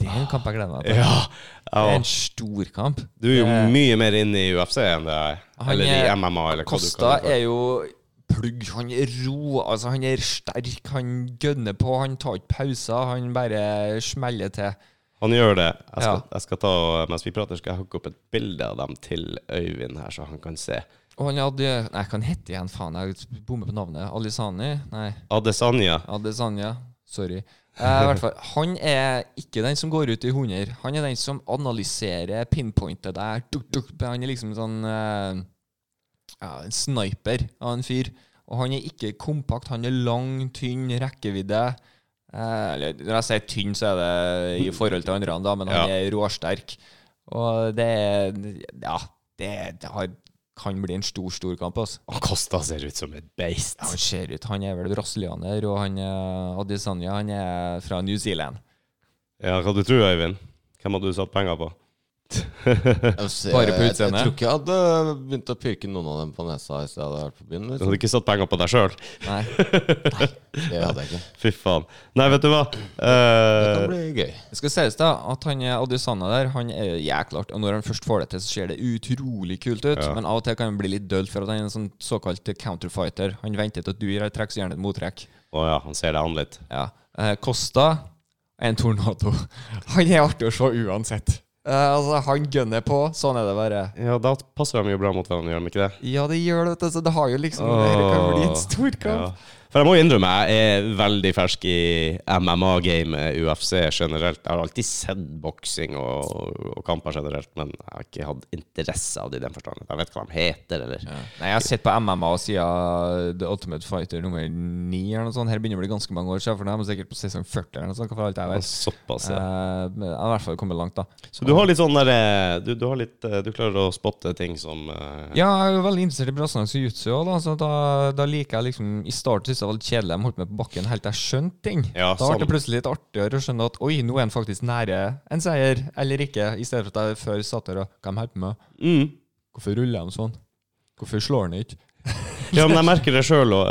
Det er en kamp jeg gleder meg
Oh.
til.
Ja,
Det er
ja.
en stor kamp.
Du er jo
Det-
mye mer inne i UFC enn det er.
Eh, Han
Eller
er-
i MMA, eller hva du
Kosta
kaller det. for.
er jo plugg. Han er ro, altså han er sterk. Han gønner på, han tar ikke pauser. Han bare smeller til.
Han gjør det. Jeg skal,
Ja.
jeg skal ta, og mens vi prater, skal jeg hooke opp et bilde av dem til Øyvind her, så han kan se.
Og han hadde Nei, hva han hette igjen? Faen, jeg bommer på navnet. Alisani? Nei,
Adesanya.
Adesanya. Sorry. Eh, i hvert fall, Han er ikke den som går ut i 100. Han er den som analyserer, pinpointer deg. Duk, duk. Han er liksom sånn eh, ja, en sniper av en fyr. Og han er ikke kompakt. Han er lang, tynn, rekkevidde. Eh, eller når jeg sier tynn, så er det i forhold til andre, da, men han
Ja.
er råsterk. Og det er Ja, det, det har, kan bli en stor, stor kamp. Altså.
Han Costa ser ut som et beist.
Ja, Han ser ut, han er vel brasilianer, og han eh, Adesanya han er fra New Zealand.
Ja, hva du tror Øyvind? Hvem hadde du satt penger på?
Bare på
Jeg,
utseendet?
jeg tror ikke jeg hadde begynt å pirke noen av dem på nesa hvis jeg hadde vært på byen.
Du
Liksom.
hadde ikke satt penger på deg sjøl?
Nei,
Det hadde jeg ikke.
Fy faen. Nei, vet du hva?
Det
Eh,
kan bli gøy.
Det skal sies da at han eh, Adesanya der, han er jæklart, og når han først får det til, så ser det utrolig kult ut,
Ja.
men av og til kan han bli litt dølt for at han er en sånn såkalt counterfighter. Han venter til at du gir et trekk, så gjør han et mottrekk.
Å ja, han ser deg an litt.
Ja. Eh, Costa er en tornado. Han er artig å se uansett. Eh, altså, han gønner på, sånn er det bare.
Ja, da passer de jo bra mot hverandre, gjør de ikke det?
Ja, det gjør det, vet du, så det har jo liksom, det kan bli en stor kamp.
Ja. For jeg må innrømme, jeg er veldig fersk i MMA-gamet, UFC generelt. Jeg har alltid sett boksing og, og kamper generelt, men jeg har ikke hatt interesse av det i den forstand. Jeg vet hva de heter, eller
Nei, Jeg har sett på MMA siden The Ultimate Fighter nummer 9 eller noe sånt. Her begynner det å bli ganske mange år siden, for nå er man sikkert på sesong 40 eller noe sånt. Hva for alt jeg vet.
såpass. Ja.
Eh, men jeg har i hvert fall kommet langt, da.
Så du har litt sånn derre du, du har litt eh, Du klarer å spotte ting som eh,
Ja, jeg er jo veldig interessert i brasiliansk jiu-jitsu òg, da, så da, da liker jeg liksom I starten syntes jeg det var litt kjedelig, de holdt meg på bakken helt til jeg skjønte ting.
Ja,
da ble det
sånn.
plutselig litt artigere å skjønne at oi, nå er han faktisk nære en seier, eller ikke, i stedet for at jeg før satt der og Hva de holder på med?
mm.
Hvorfor ruller de sånn? Hvorfor slår han ikke?
Ja, men jeg merker det sjøl òg.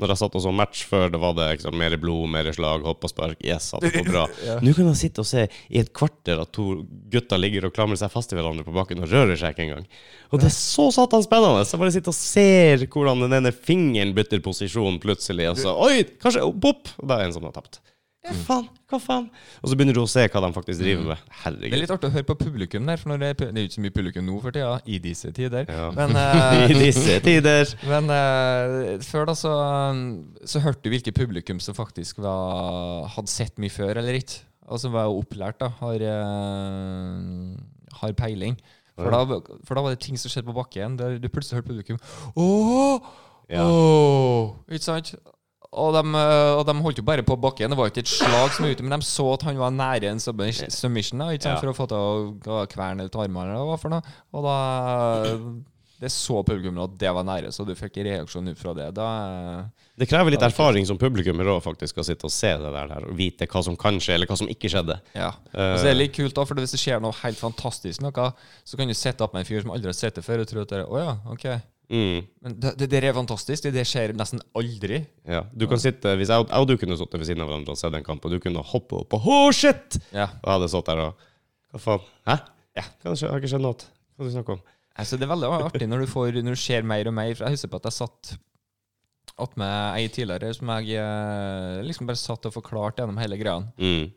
når jeg satt og så match før, det var det liksom, mer blod, mer slag, hopp og spark. Yes, satt på bra. Nå kan man sitte og se i et kvarter at to gutter ligger og klamrer seg fast i hverandre på bakken og rører seg ikke engang. Og det er så satan spennende! Jeg bare sitter og ser hvordan den ene fingeren bytter posisjon plutselig, og så Oi, kanskje oh, pop! Og da er det en som har tapt. Ja, faen, hva faen? Og så begynner du å se hva de faktisk driver med.
Det er
Herregud.
litt artig å høre på publikum der, for når det, er pu- det er jo ikke så mye publikum nå for tida, i disse tider.
Ja.
Men, eh,
I disse tider.
men eh, før da så, så hørte du hvilke publikum som faktisk var, hadde sett mye før eller ikke. Og som var opplært, da. Har, eh, har peiling. For da, for da var det ting som skjedde på bakken, der du plutselig hørte publikum Åh!
Ja.
Åh! Ikke sant? Og de, eh, og de holdt jo bare på bakken. Det var jo ikke et slag som var ute, men de så at han var nære en submis- submission da, ikke sant?
Ja.
for å få til å kverne ut armene eller hva for noe. Og da eh, Det så publikum at det var nære, så du fikk en reaksjon ut fra det. Da eh,
Det krever litt erfaring som publikummer òg, faktisk, å sitte og se det der, der og vite hva som kan skje, eller hva som ikke skjedde.
ja. Og så er det litt kult, da, for hvis det skjer noe helt fantastisk, noe, så kan du sette opp med en fyr som aldri har sett det før, og tro at det er Å ja, OK.
Mm,
Men det, det, der er fantastisk. Det, det skjer nesten aldri.
ja. Du kan sitte, Hvis jeg, jeg og du kunne sittet ved siden av hverandre og sett en kamp, og du kunne hoppe opp og oh, shit!
Ja.
Og jeg hadde stått der og Hva faen? Hæ? Ja. Hva skje, har ikke skjedd noe? Hva er det du snakker om?
Altså, det er veldig artig når du, får, når du ser mer og mer. For jeg husker på at jeg satt attmed ei tidligere som jeg eh, liksom bare satt og forklarte gjennom hele greia.
Mm.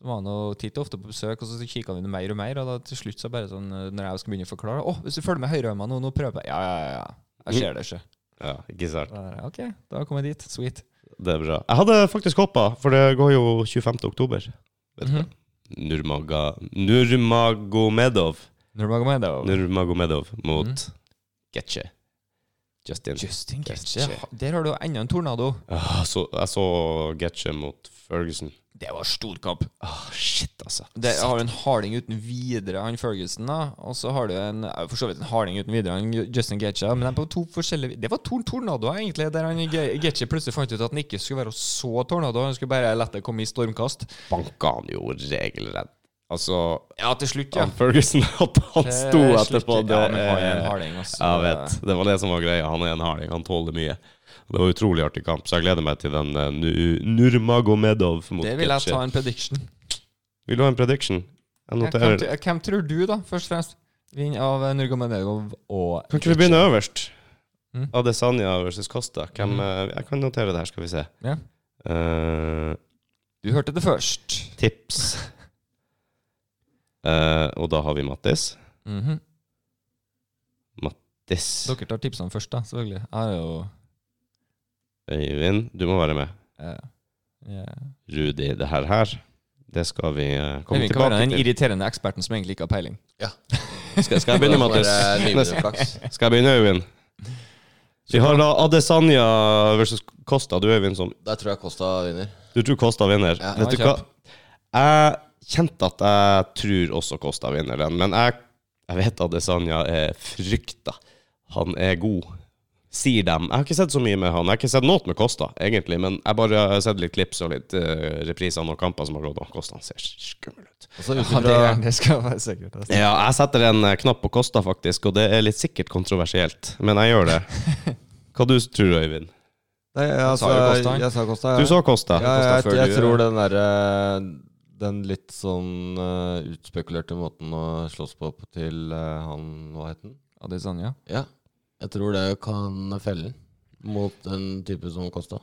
Så var han jo titt og ofte på besøk, og så kikka han inn mer og mer. Og da til slutt så bare sånn eh, Når jeg skulle begynne å forklare Å, hvis du følger med høyrehånda nå, nå prøver jeg Ja, ja, ja. ja. Jeg ser det ikke.
Ja, ikke sant.
Da er jeg, OK, da kom jeg dit. Sweet.
Det er bra. Jeg hadde faktisk hoppa, for det går jo 25. oktober. Vet du hva?
Mhm.
Nurmaga, Nurmagomedov.
Nurmagomedov.
Nurmagomedov mot
Mhm.
Getche. Justin.
Justin Ketche.
Getche.
Der har du jo enda en tornado.
Ah, så, jeg så Getche mot Ferguson.
Det var storkamp.
Ah, shit, altså.
Det har du en harding uten videre, han Ferguson, da. Og så har du en ja, for så vidt en harding uten videre, han Justin Getcha. Men de er på to forskjellige Det var to tornadoer, egentlig, der han Ge- Getcha plutselig fant ut at han ikke skulle være så tornado, han skulle bare la det komme i stormkast.
Banka han jo regelrett. Altså
Ja, til slutt, ja.
han Ferguson at han sto
Til slutt,
etterpå, det
Ja, men han er
er-
en harding, altså.
Jeg vet. Det var det som var greia. Han er en harding. Han tåler mye. Det var utrolig artig kamp, så jeg gleder meg til den eh, Nu- Nurmagomedov mot
Det vil jeg
Getche.
ta en prediction.
Vil du ha en prediction? Jeg
Ja, Hvem,
noterer.
tr- hvem tror du, da, først og fremst? Vinner av eh, Nurmagomedov og
Kan ikke vi begynne øverst?
Mm.
Adesanya versus Costa. Hvem,
Mm.
eh, jeg kan notere det her, skal vi se.
Ja.
Eh,
Du hørte det først.
tips. Eh, og da har vi Mattis.
Mhm.
Diss.
Dere tar tipsene først, da, selvfølgelig. Jeg er jo
Øyvind, du må være med.
eh, ja.
Rudi, det her her, det skal vi eh, komme
Øyvind kan være
tilbake
den
til.
irriterende eksperten som egentlig ikke har peiling.
Skal, skal jeg begynne, Mattis? Neste- Skal jeg begynne, Øyvind? Vi har da Adesanya versus Costa. Du, Øyvind, som
Der tror jeg Kosta vinner.
Du tror Costa vinner.
Ja.
Vet du
Ja,
hva? Jeg kjente at jeg tror også Costa vinner den, men jeg, jeg vet at Desanya er frykta. Han er god, sier dem. Jeg har ikke sett så mye med han. Jeg har ikke sett noe med Costa, egentlig, men jeg bare har sett litt klips og litt eh, repriser av noen kamper som har gått. Og Costa han ser skummel ut.
Altså, ut
Ja, det,
ifra-
er- det skal være sikkert. altså.
Ja, jeg setter en eh, knapp på Costa, faktisk, og det er litt sikkert kontroversielt, men jeg gjør det. Hva du tror du, Øyvind?
Nei, jeg,
sa jo Costa, han.
jeg sa Costa. ja.
Du så altså, Costa.
Ja, jeg,
Costa
jeg,
før du-
tror den derre Den litt sånn eh, utspekulerte måten å slåss på på til eh, han Hva het han?
Ja, det er sånn, ja.
Ja. Jeg tror det kan felle den mot den type som Kosta.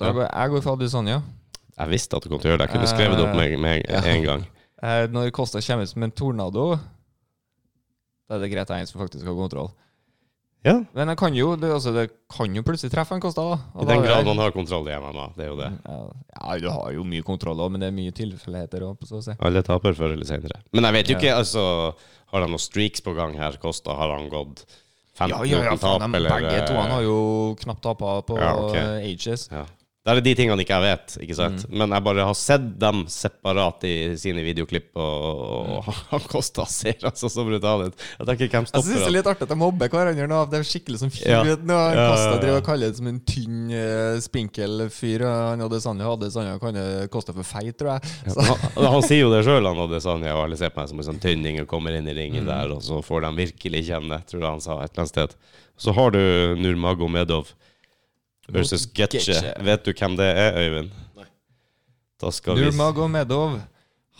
Da går, jeg går for Adesanya.
Jeg visste at du kom til å gjøre det. Jeg kunne skrevet det opp med, med en gang.
Eh, når Kosta kommer ut som en tornado, da er det greit at jeg er en som faktisk har kontroll.
Ja,
Men jeg kan jo, det, altså, det kan jo plutselig treffe en Kosta. da.
I
Og da
den
er
grad
jeg-
man har kontroll i MMA, det er jo det.
ja, ja, du har jo mye kontroll òg, men det er mye tilfeldigheter òg, så å si.
Alle taper før eller senere. Men jeg vet jo ikke, altså Har han noen streaks på gang her, Kosta? Har han gått 15
Ja, ja, ja,
uten
faen,
tap,
de,
eller eh,
begge to han har jo knapt tapa på
Ja, ok.
eh, ages.
ja. Det er de tingene ikke jeg vet, ikke sant?
Mm.
Men jeg bare har sett dem separat i sine videoklipp, og, og han Kosta ser altså så brutal ut. Jeg tenker hvem
Mm. Jeg synes
stopper
det er
han?
litt artig at de mobber hverandre nå. at Det er skikkelig som fyr.
Ja.
vet du,
Ja,
Når
ja,
Kosta
ja.
driver og kaller det som en tynn, eh, spinkel fyr. og Han hadde Sanja hadde Sanja kaller Kosta for feit, tror jeg. Så,
Han, han sier jo det sjøl, han Adesanya, og alle ser på meg som en sånn tynning og kommer inn i ringen
Mm.
der, og så får de virkelig kjenne, tror jeg han sa et eller annet sted. Så har du Nurmagomedov versus Getche.
Getche.
Vet du hvem det er, Øyvind? Da skal vi
Nurmagomedov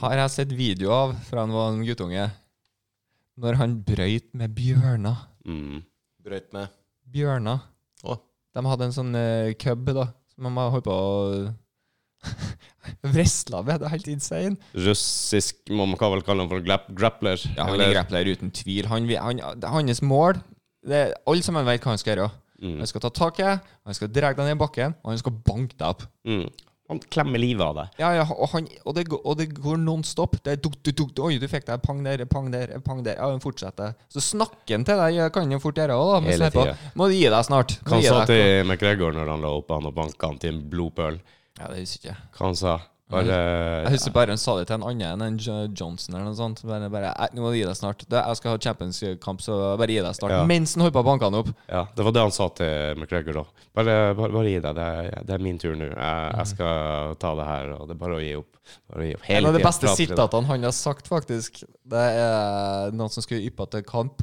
har jeg sett video av fra han var en guttunge. Når han brøyt med bjørner.
mm.
Brøyt med.
Bjørner.
Å.
De hadde en sånn eh, cub da, som de har holdt på å Vresla med. Det er helt insane.
Russisk må man hva vel kalle han for glap, grappler?
Ja, han
eller-
er grappler uten tvil. Han, vil- han, det er hans mål det er, Alle sammen vet hva han skal gjøre.
Mm.
Han skal ta tak i deg, han skal dra deg ned i bakken, og han skal banke deg opp.
Mm. Han klemmer livet av deg.
Ja, ja, og, han, og, det, går- og det går non stop. Det er duk, duk, duk, duk, Oi, du fikk deg pang der, pang der, pang der. Ja, han fortsetter. Så snakker han til deg, kan han jo fort gjøre òg, da. Men
Hele
slipper
tida.
han. Må du gi deg snart. Må
Hva han
gi
sa
deg.
til McGregor når han la opp han og banka han til en blodpøl?
Ja, det husker jeg ikke.
Hva han sa? Bare
Jeg husker bare han sa det til en annen enn Jo- Johnson eller noe sånt. Bare, bare «Nei, nå må du gi deg snart. Det- Jeg skal ha Champions League-kamp, så bare gi deg snart.
Ja.
Mens han holdt på å banke han opp.
Ja, det var det han sa til McGregor da. Bare, bare, bare gi deg, det er, det er min tur nå. Jeg, jeg skal ta det her, og det er bare å gi opp. Bare å gi opp. Hele
En av de
tiden
beste
prater til deg.
sitatene han har sagt, faktisk, det er noen som skulle yppe til kamp,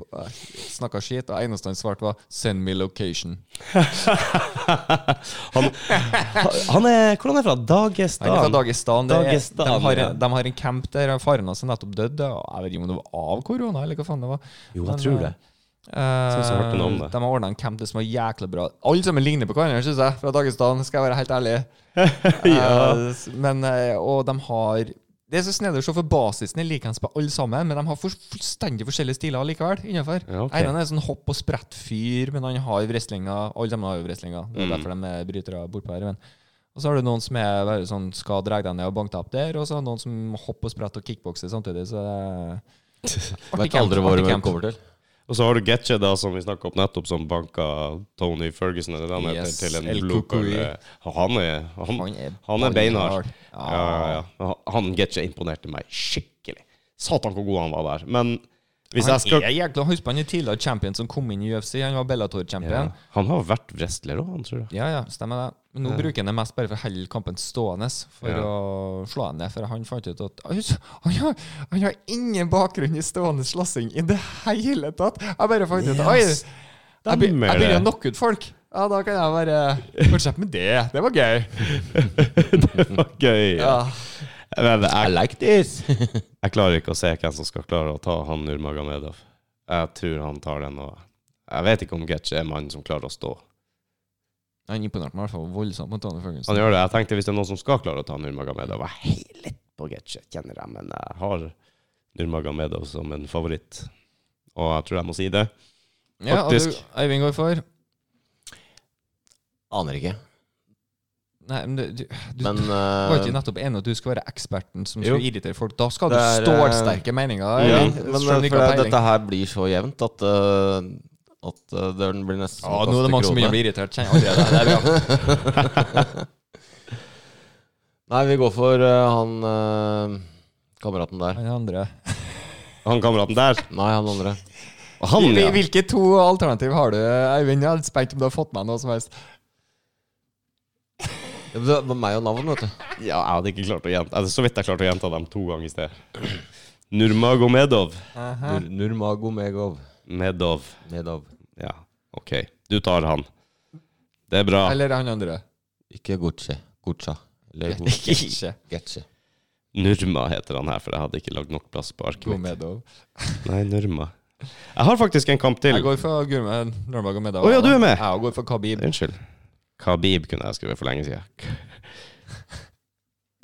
snakka skit, og eneste han svarte, var 'send me location'.
han, han er, hvordan er det fra? Dagestan?
Han er fra Dagestan. Det er,
Dagestan,
de, har,
ja.
de har en camp der faren hans er nettopp dødd. og Jeg vet ikke om det var av korona, eller hva faen det var.
Jo,
Men,
jeg tror det.
eh,
Synes jeg hørte noe om det.
De har ordna en camp der som var jækla bra. Alle sammen ligner på hverandre, syns jeg, fra Dagestan, skal jeg være helt ærlig. Eh, s- men, eh, og de har Det er så snedig å se, for basisen er likens på alle sammen, men de har for, fullstendig forskjellige stiler likevel. Innenfor.
Ja, ok.
Einan er sånn hopp- og sprettfyr, men han har wrestlinga. Alle sammen har jo wrestlinga. Det er
Mm.
derfor de er brytere bortpå her. Men. Og så har du noen som er bare sånn, skal dra deg ned og banke deg opp der, og så har du noen som hopper og spretter og kickbokser samtidig. Så det er
Vet aldri hva
artig
det
camp.
kommer til.
Og så har du Getche, da, som vi snakket om nettopp, som banka Tony Ferguson eller han
Yes,
heter, til en
El
blodpøl.
Cucuy.
Han er, han,
Han er,
han er beinhard.
Ja.
Ja, ja, ja. Han Getche imponerte meg skikkelig. Satan hvor god han var der. Men hvis
han
jeg skal
er jækla Husk på han er tidligere champion som kom inn i UFC. Han var Bellator-champion.
Ja. Han har vært wrestler òg, han tror jeg.
Ja, ja, stemmer det. Men nå bruker han det mest bare for å holde kampen stående, for
Ja.
å slå han ned. For han fant ut at «Oi, så- han har, han har ingen bakgrunn i stående slåssing i det hele tatt! Jeg bare fant ut Oi!
Yes,
Jeg, be, jeg
stemmer
begynner
det.
å knocke ut folk! Ja, da kan jeg bare fortsette med det. Det var gøy.
det var gøy.
Ja.
Men eh, jeg,
like this!
jeg klarer ikke å se hvem som skal klare å ta han Nurmagomedov. Jeg tror han tar den. Og jeg vet ikke om Getch er mannen som klarer å stå.
Han imponerte meg i hvert fall voldsomt mot Tony Ferguson.
Han gjør det. Jeg tenkte hvis det er noen som skal klare å ta Nurmagomedov Jeg heier litt på Getch, kjenner jeg, men jeg har Nurmagomedov som en favoritt. Og jeg tror jeg må si det.
Ja, og du,
Faktisk.
Eivind går for
Aner ikke.
Nei, men du, du, du
Men
var ikke
eh,
nettopp enig at du skulle være eksperten som
Jo.
skulle irritere folk. Da skal du
Det er, eh,
stålsterke meninger.
Ja,
Eivind,
men
selv om du
eh,
ikke
for
har
det,
peiling.
dette her blir så jevnt at, eh, at eh, det blir nesten som
Ja,
å
nå er det
kaste
mange som begynner å
krone.
bli irritert. Kjenner allerede. Det er bra.
Nei, vi går for eh, han eh, kameraten der.
Han andre.
Han kameraten der,
Nei, han andre.
og han,
Hvil-
ja.
Hvilke to alternativ har du, Eivind? Jeg er litt spent om du har fått med noe som helst.
Ja, men Det var meg og navn, vet du.
ja jeg hadde ikke klart å gjenta altså, Så vidt jeg klarte å gjenta dem to ganger i sted. Nurmagomedov.
Nur, Nurmago Megov.
Medov.
Medov.
Ja, OK. Du tar han. Det er bra.
Eller han andre?
Ikke Gucci. Gucci. Eller Gucci.
Ikke
Getche.
Nurma heter han her, for jeg hadde ikke lagd nok plass på arket mitt.
Gomedov.
Nei, Nurma. Jeg har faktisk en kamp til.
Jeg går for Gurme Norma Gomedov.
Å ja, du er med.
Jeg går for Khabib.
Unnskyld. Khabib kunne jeg skrevet for lenge siden. K-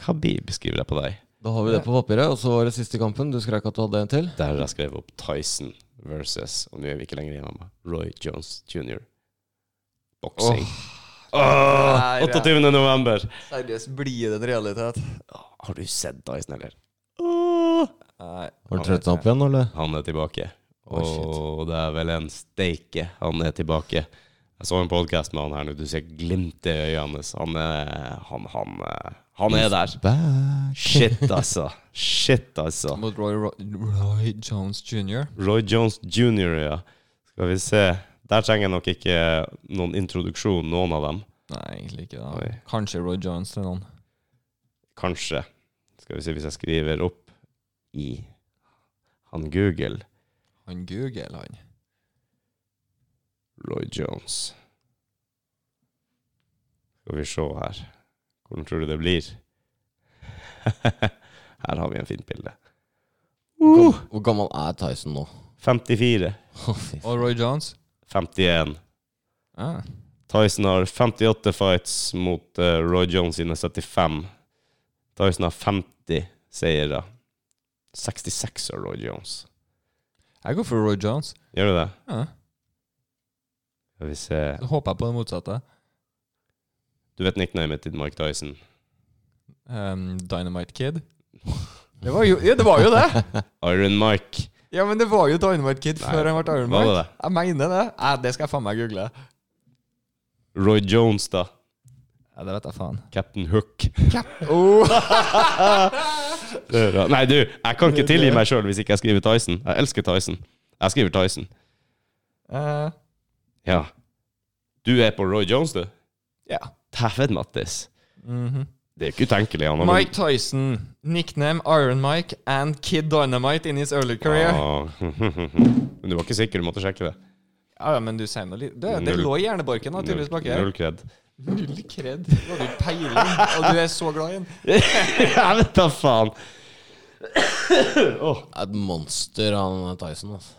Khabib skriver jeg på deg.
Da har vi det på papiret. Og så var det siste kampen. Du skrek at du hadde en til.
Der har jeg skrevet opp Tyson versus Og nå er vi ikke lenger igjennom Roy Jones jr. Boksing. Åh,
Nei, det-
28. november!
Seriøst, blir det en realitet?
Åh, Har du sett Tyson, eller? Åh.
Nei.
Var du trøtt opp igjen, eller?
Han er tilbake.
Å, shit.
og det er vel en steike han er tilbake. Jeg så en podkast med han her nå. Du ser glimtet i øynene hans. Han, er- han, han, eh, han er der.
Back.
Shit, altså. Shit, altså.
Mot Roy, Roy, Roy Jones jr.
Roy Jones jr., ja. Skal vi se. Der trenger jeg nok ikke noen introduksjon, noen av dem.
Nei, egentlig ikke.
Oi.
da Kanskje Roy Jones til noen.
Kanskje. Skal vi se hvis jeg skriver opp i han Google.
Han Google, han.
Roy Jones. Skal vi se her. Hvordan tror du det blir? her har vi en fint bilde.
Hvor gam- Hvor gammel er Tyson nå?
54,
Å, fy faen.
Og Roy Jones?
51.
Ah.
Tyson har 58 fights mot eh, Roy Jones sine 75. Da har vi snart 50 seire. 66 av Roy Jones.
Jeg går for Roy Jones.
Gjør du det?
Ja.
Skal vi se
Så håper jeg på det motsatte.
Du vet nicknamet til Mike Tyson?
Um, Dynamite Kid. Det var jo ja, det! Var jo det.
Iron Mike.
Ja, men det var jo Dynamite Kid
Nei,
før han ble Iron
Var det
Man.
det?
Jeg mener det. Nei, det skal jeg faen meg google.
Roy Jones, da.
Ja, det vet jeg faen.
Captain Hook.
Oh.
Det er bra. Nei, du, jeg kan ikke tilgi meg sjøl hvis ikke jeg skriver Tyson. Jeg elsker Tyson. Jeg skriver Tyson.
Eh,
Ja. Du er på Roy Jones, du?
ja.
Dæven, Mattis.
Mhm.
Det er ikke utenkelig. Han har
Mike Tyson, nickname Iron Mike and Kid Dynamite in his early career.
Ah. Men du var ikke sikker, du måtte sjekke det.
Ja, ja, men du sier noe litt Det, det
Null.
lå i hjernebarken, da, tydeligvis, bak her.
Null kred.
Null kred. Du hadde jo peiling, og du er så glad i den.
jeg vet da faen!
Et monster, han Tyson. Altså.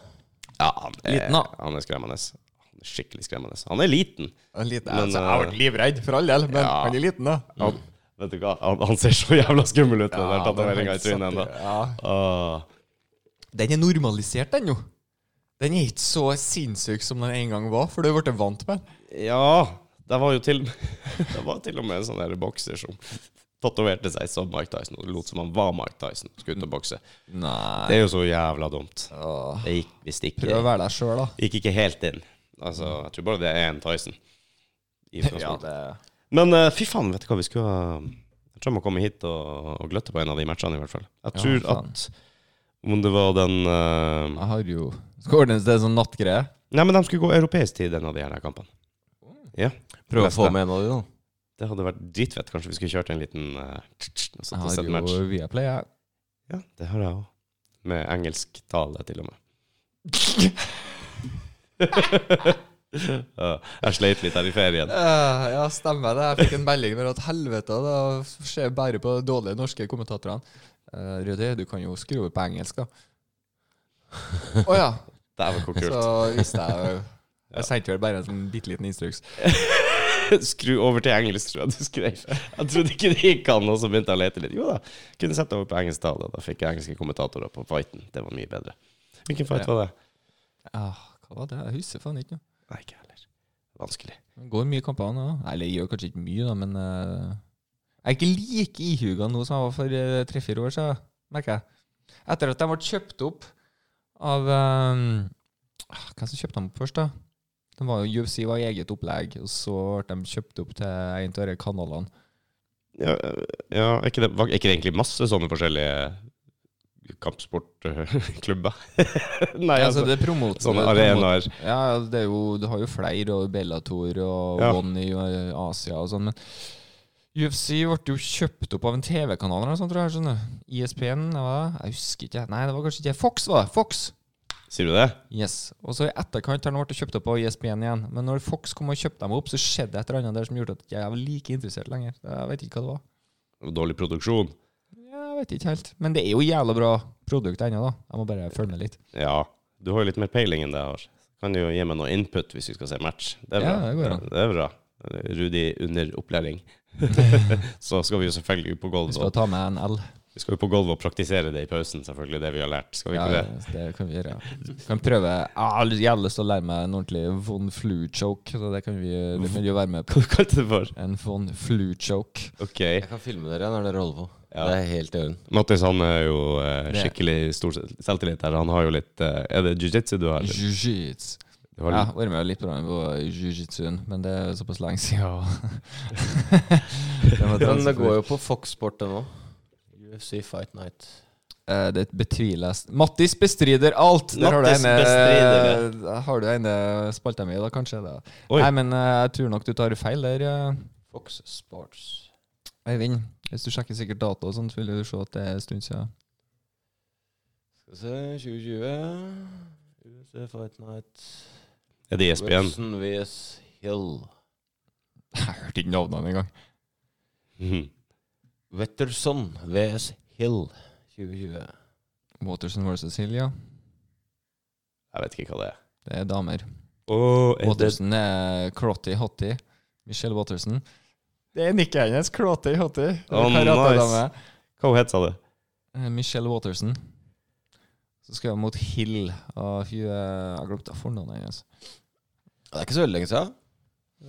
Ja, han er,
Liten, da.
han er skremmende. Han er skikkelig skremmende. Han er liten.
En liten,
Men, eh,
altså, jeg ble livredd, for all del, men
ja.
han er liten, da.
Han, vet du hva, han, han ser så jævla skummel ut med den
den er
tatoveringa i
helt
trynet
satt,
ennå.
Ja.
Ah.
Den er normalisert, den jo. Den er ikke så sinnssyk som den en gang var, for du har blitt vant med den.
Ja, det var jo til Det var til og med en sånn der bokser som tatoverte seg som Mike Tyson og lot som han var Mike Tyson. Skulle ut og bokse.
Nei
Det er jo så jævla dumt.
Åh.
Det gikk visst
Prøv å
ikke
være deg sjøl, da.
Gikk ikke helt inn. Altså, jeg tror bare det er en Tyson. I
Ja,
utgangspunktet.
det...
Men eh, fy faen, vet du hva vi skulle ha Jeg tror jeg må komme hit og, og gløtte på en av de matchene, i hvert fall. Jeg tror
Ja, faen.
at om det var den eh,
Jeg har jo Skal ordnes det sånn nattgreie.
Nei, men de skulle gå europeisk tid, en av de her kampene.
Oh.
Ja.
Prøv å
Neste.
få med en av de, da.
Det hadde vært dritfett. Kanskje vi skulle kjørt en liten eh, tsk, tsk, og satt og
Jeg
sett
har
match.
jo Viaplay, jeg.
Ja, det har jeg òg. Med engelsk tale, til og med. Ja, jeg sleit litt her i ferien.
Eh, ja, stemmer det. Jeg fikk en melding med at helvete, det skjer bare på de dårlige norske kommentatorene. Uh, Røde, du kan jo skru over på engelsk, da. Å ja.
Dæven, hvor
Så
kult.
visste jeg jo
Ja.
Jeg sendte vel bare en sånn bitte liten instruks.
Skru over til engelsk, tror jeg du skrev. Jeg trodde ikke det gikk an, og så begynte jeg å lete litt. Jo da, kunne sett over på engelsk tale. Da fikk jeg engelske kommentatorer på fighten. Det var mye bedre. Hvilken fight var det?
Ah, hva var det? Jeg husker faen ikke. nå.
Nei, ikke jeg heller. Vanskelig.
Det går mye kamper nå. Eller jeg gjør kanskje ikke mye, da, men eh, Jeg er ikke like ihuga nå som jeg var for eh, tre-fire år siden, merker jeg. Etter at de ble kjøpt opp av eh, ah, Hvem som kjøpte dem opp først, da? De var jo, UFC var i eget opplegg, og så ble de kjøpt opp til en av disse kanalene.
Ja, ja er, ikke det, var- er ikke det egentlig masse sånne forskjellige kampsportklubber? Nei,
Ja,
altså,
så det er promot-
sånne
det er promot-
arenaer.
Ja, ja, det er jo, du har jo flere, og Bellator og
Ja.
One i eh, Asia og sånn, men UFC ble jo kjøpt opp av en TV-kanal eller noe sånt, tror jeg. skjønner du. E ISP-en, det var det? Jeg husker ikke. Nei, det var kanskje ikke Fox, var det? Fox!
Sier du det?
Yes. Og så i etterkant har de blitt kjøpt opp av E ISP-en igjen. Men når Fox kom og kjøpte dem opp, så skjedde det et eller annet der som gjorde at jeg ikke var like interessert lenger. Jeg vet ikke hva det var.
Dårlig produksjon?
Jeg vet ikke helt. Men det er jo jævla bra produkt ennå, da. Jeg må bare følge med litt.
Ja. Du har jo litt mer peiling enn det jeg har. Kan du jo gi meg noe input hvis vi skal se match? Det er bra.
Ja, det går an.
det er bra. Rudi under opplæring. Så skal vi jo selvfølgelig ut på
Vi
gulvet.
skal
og-
ta med en L.
Vi skal jo på gulvet og praktisere det i pausen, selvfølgelig, det vi har lært. Skal vi
Ja,
ikke det?
det kan vi gjøre. ja. Kan prøve Jeg har lyst- jeg har lyst til å lære meg en ordentlig von flu-choke, så det kan vi, det kan vi jo være med på.
Hva kalte du det for?
En von flu-choke.
Ok.
Jeg kan filme dere når dere holder på.
Ja.
Det er helt i orden.
Mattis han er jo eh,
Det-
skikkelig stor selvtillit her. Han har jo litt eh, Er det jiu-jitsu du har? eller?
Jiu-jitsu.
Du har
Ja,
litt
vært med litt på den på jiu-jitsuen, men det er såpass lenge siden.
Men det går jo på Fox Sport ennå. UFC Fight Night.
Eh, Det betviler jeg. Mattis bestrider alt! Der har du
Mattis bestrider
ene, har du ene spalta mi, da, kanskje. Da.
Oi.
Nei, men eh, jeg tror nok du tar feil der. eh.
Fox Sports.
Eivind, hvis du sjekker sikkert data og sånt, vil du se at det er en stund siden.
Skal vi se 2020. UFC Fight Night.
Er det E ISBN?
Wilson vs. Hill.
Jeg hørte ikke navnene engang.
Mhm.
Wetterson vs. Hill 2020.
Waterson versus Hill, ja.
Jeg vet ikke hva det er.
Det er damer.
Oh,
Waterson er crotty hotty. Michelle Waterson. Det er nikket hennes. Klåte i hotte.
Oh,
Karatedame.
Hva hun het, sa du?
Eh, Michelle Waterson. Så skal jeg mot Hill. Og hun eh, Jeg glemte fornavnet hennes.
Det er ikke så veldig lenge siden.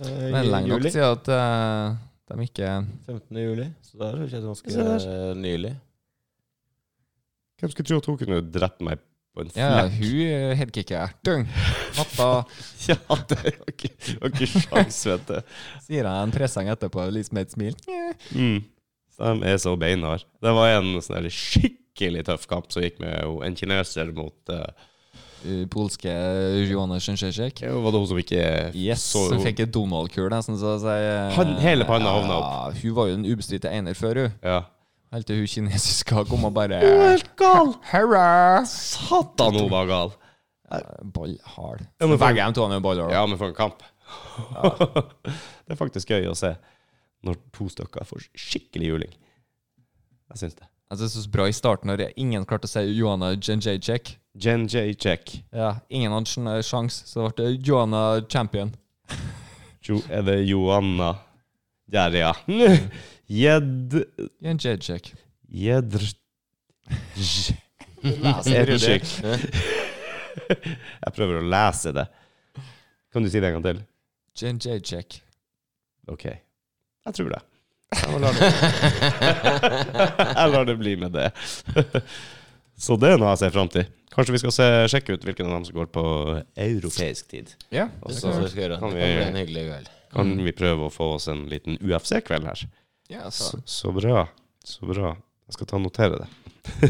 Det er lenge nok
juli.
siden at eh, de ikke
15. juli. Så det har skjedd
Se
ganske
der.
eh, nylig.
Hvem skulle tro at hun kunne drept meg på en
Ja,
flekk?
hun headkicker. Dung! Pappa
Ja, det er jo ikke, det var ikke sjans, vet du.
sier jeg en presang etterpå, liksom med et smil.
Mm. Så de er så beinharde. Det var en sånn her skikkelig tøff kamp som gikk med ho- en kineser mot eh,
Eh, Polske Johanne Sjønsjøsjek.
hva Var det hun som ikke
Yes,
så
hun fikk et Donald-kul, nesten. Så å si, eh,
Han- hele panna hovna
Ja, hun var jo den ubestridte einer før, hun.
Ja.
Helt til hun kinesiske kom og bare
gal!
Herra!
Satan, hun var gal!
Ballhard.
Ja, men for-
Begge de to er ballhard.
Ja, men for en kamp. det er faktisk gøy å se når to stykker får skikkelig juling. Jeg syns det.
Jeg synes Altså, det var så bra i starten når ingen klarte å si Johanna Jenjajek.
Jen J. Check.
Ja, ingen hadde sjan- eh, sjans, så det ble Johanna champion.
Jo, er det Joanna Der, ja. Jed...
Jenjajek.
Jedr... J- Edrchik. Jeg prøver å lese det. Kan du si det en gang til?
Jenjajek.
OK. Jeg tror det. Jeg lar det, jeg lar det bli med det. Så det er noe jeg ser fram til. Kanskje vi skal se, sjekke ut hvilken av dem som går på europeisk tid.
Ja,
Og
Det
så
skal vi skal gjøre. Det
kan
kan
vi-
bli en hyggelig kveld.
kan vi prøve å få oss en liten UFC-kveld her.
ja
Så,
så.
så bra. Så bra. Jeg skal ta og notere det.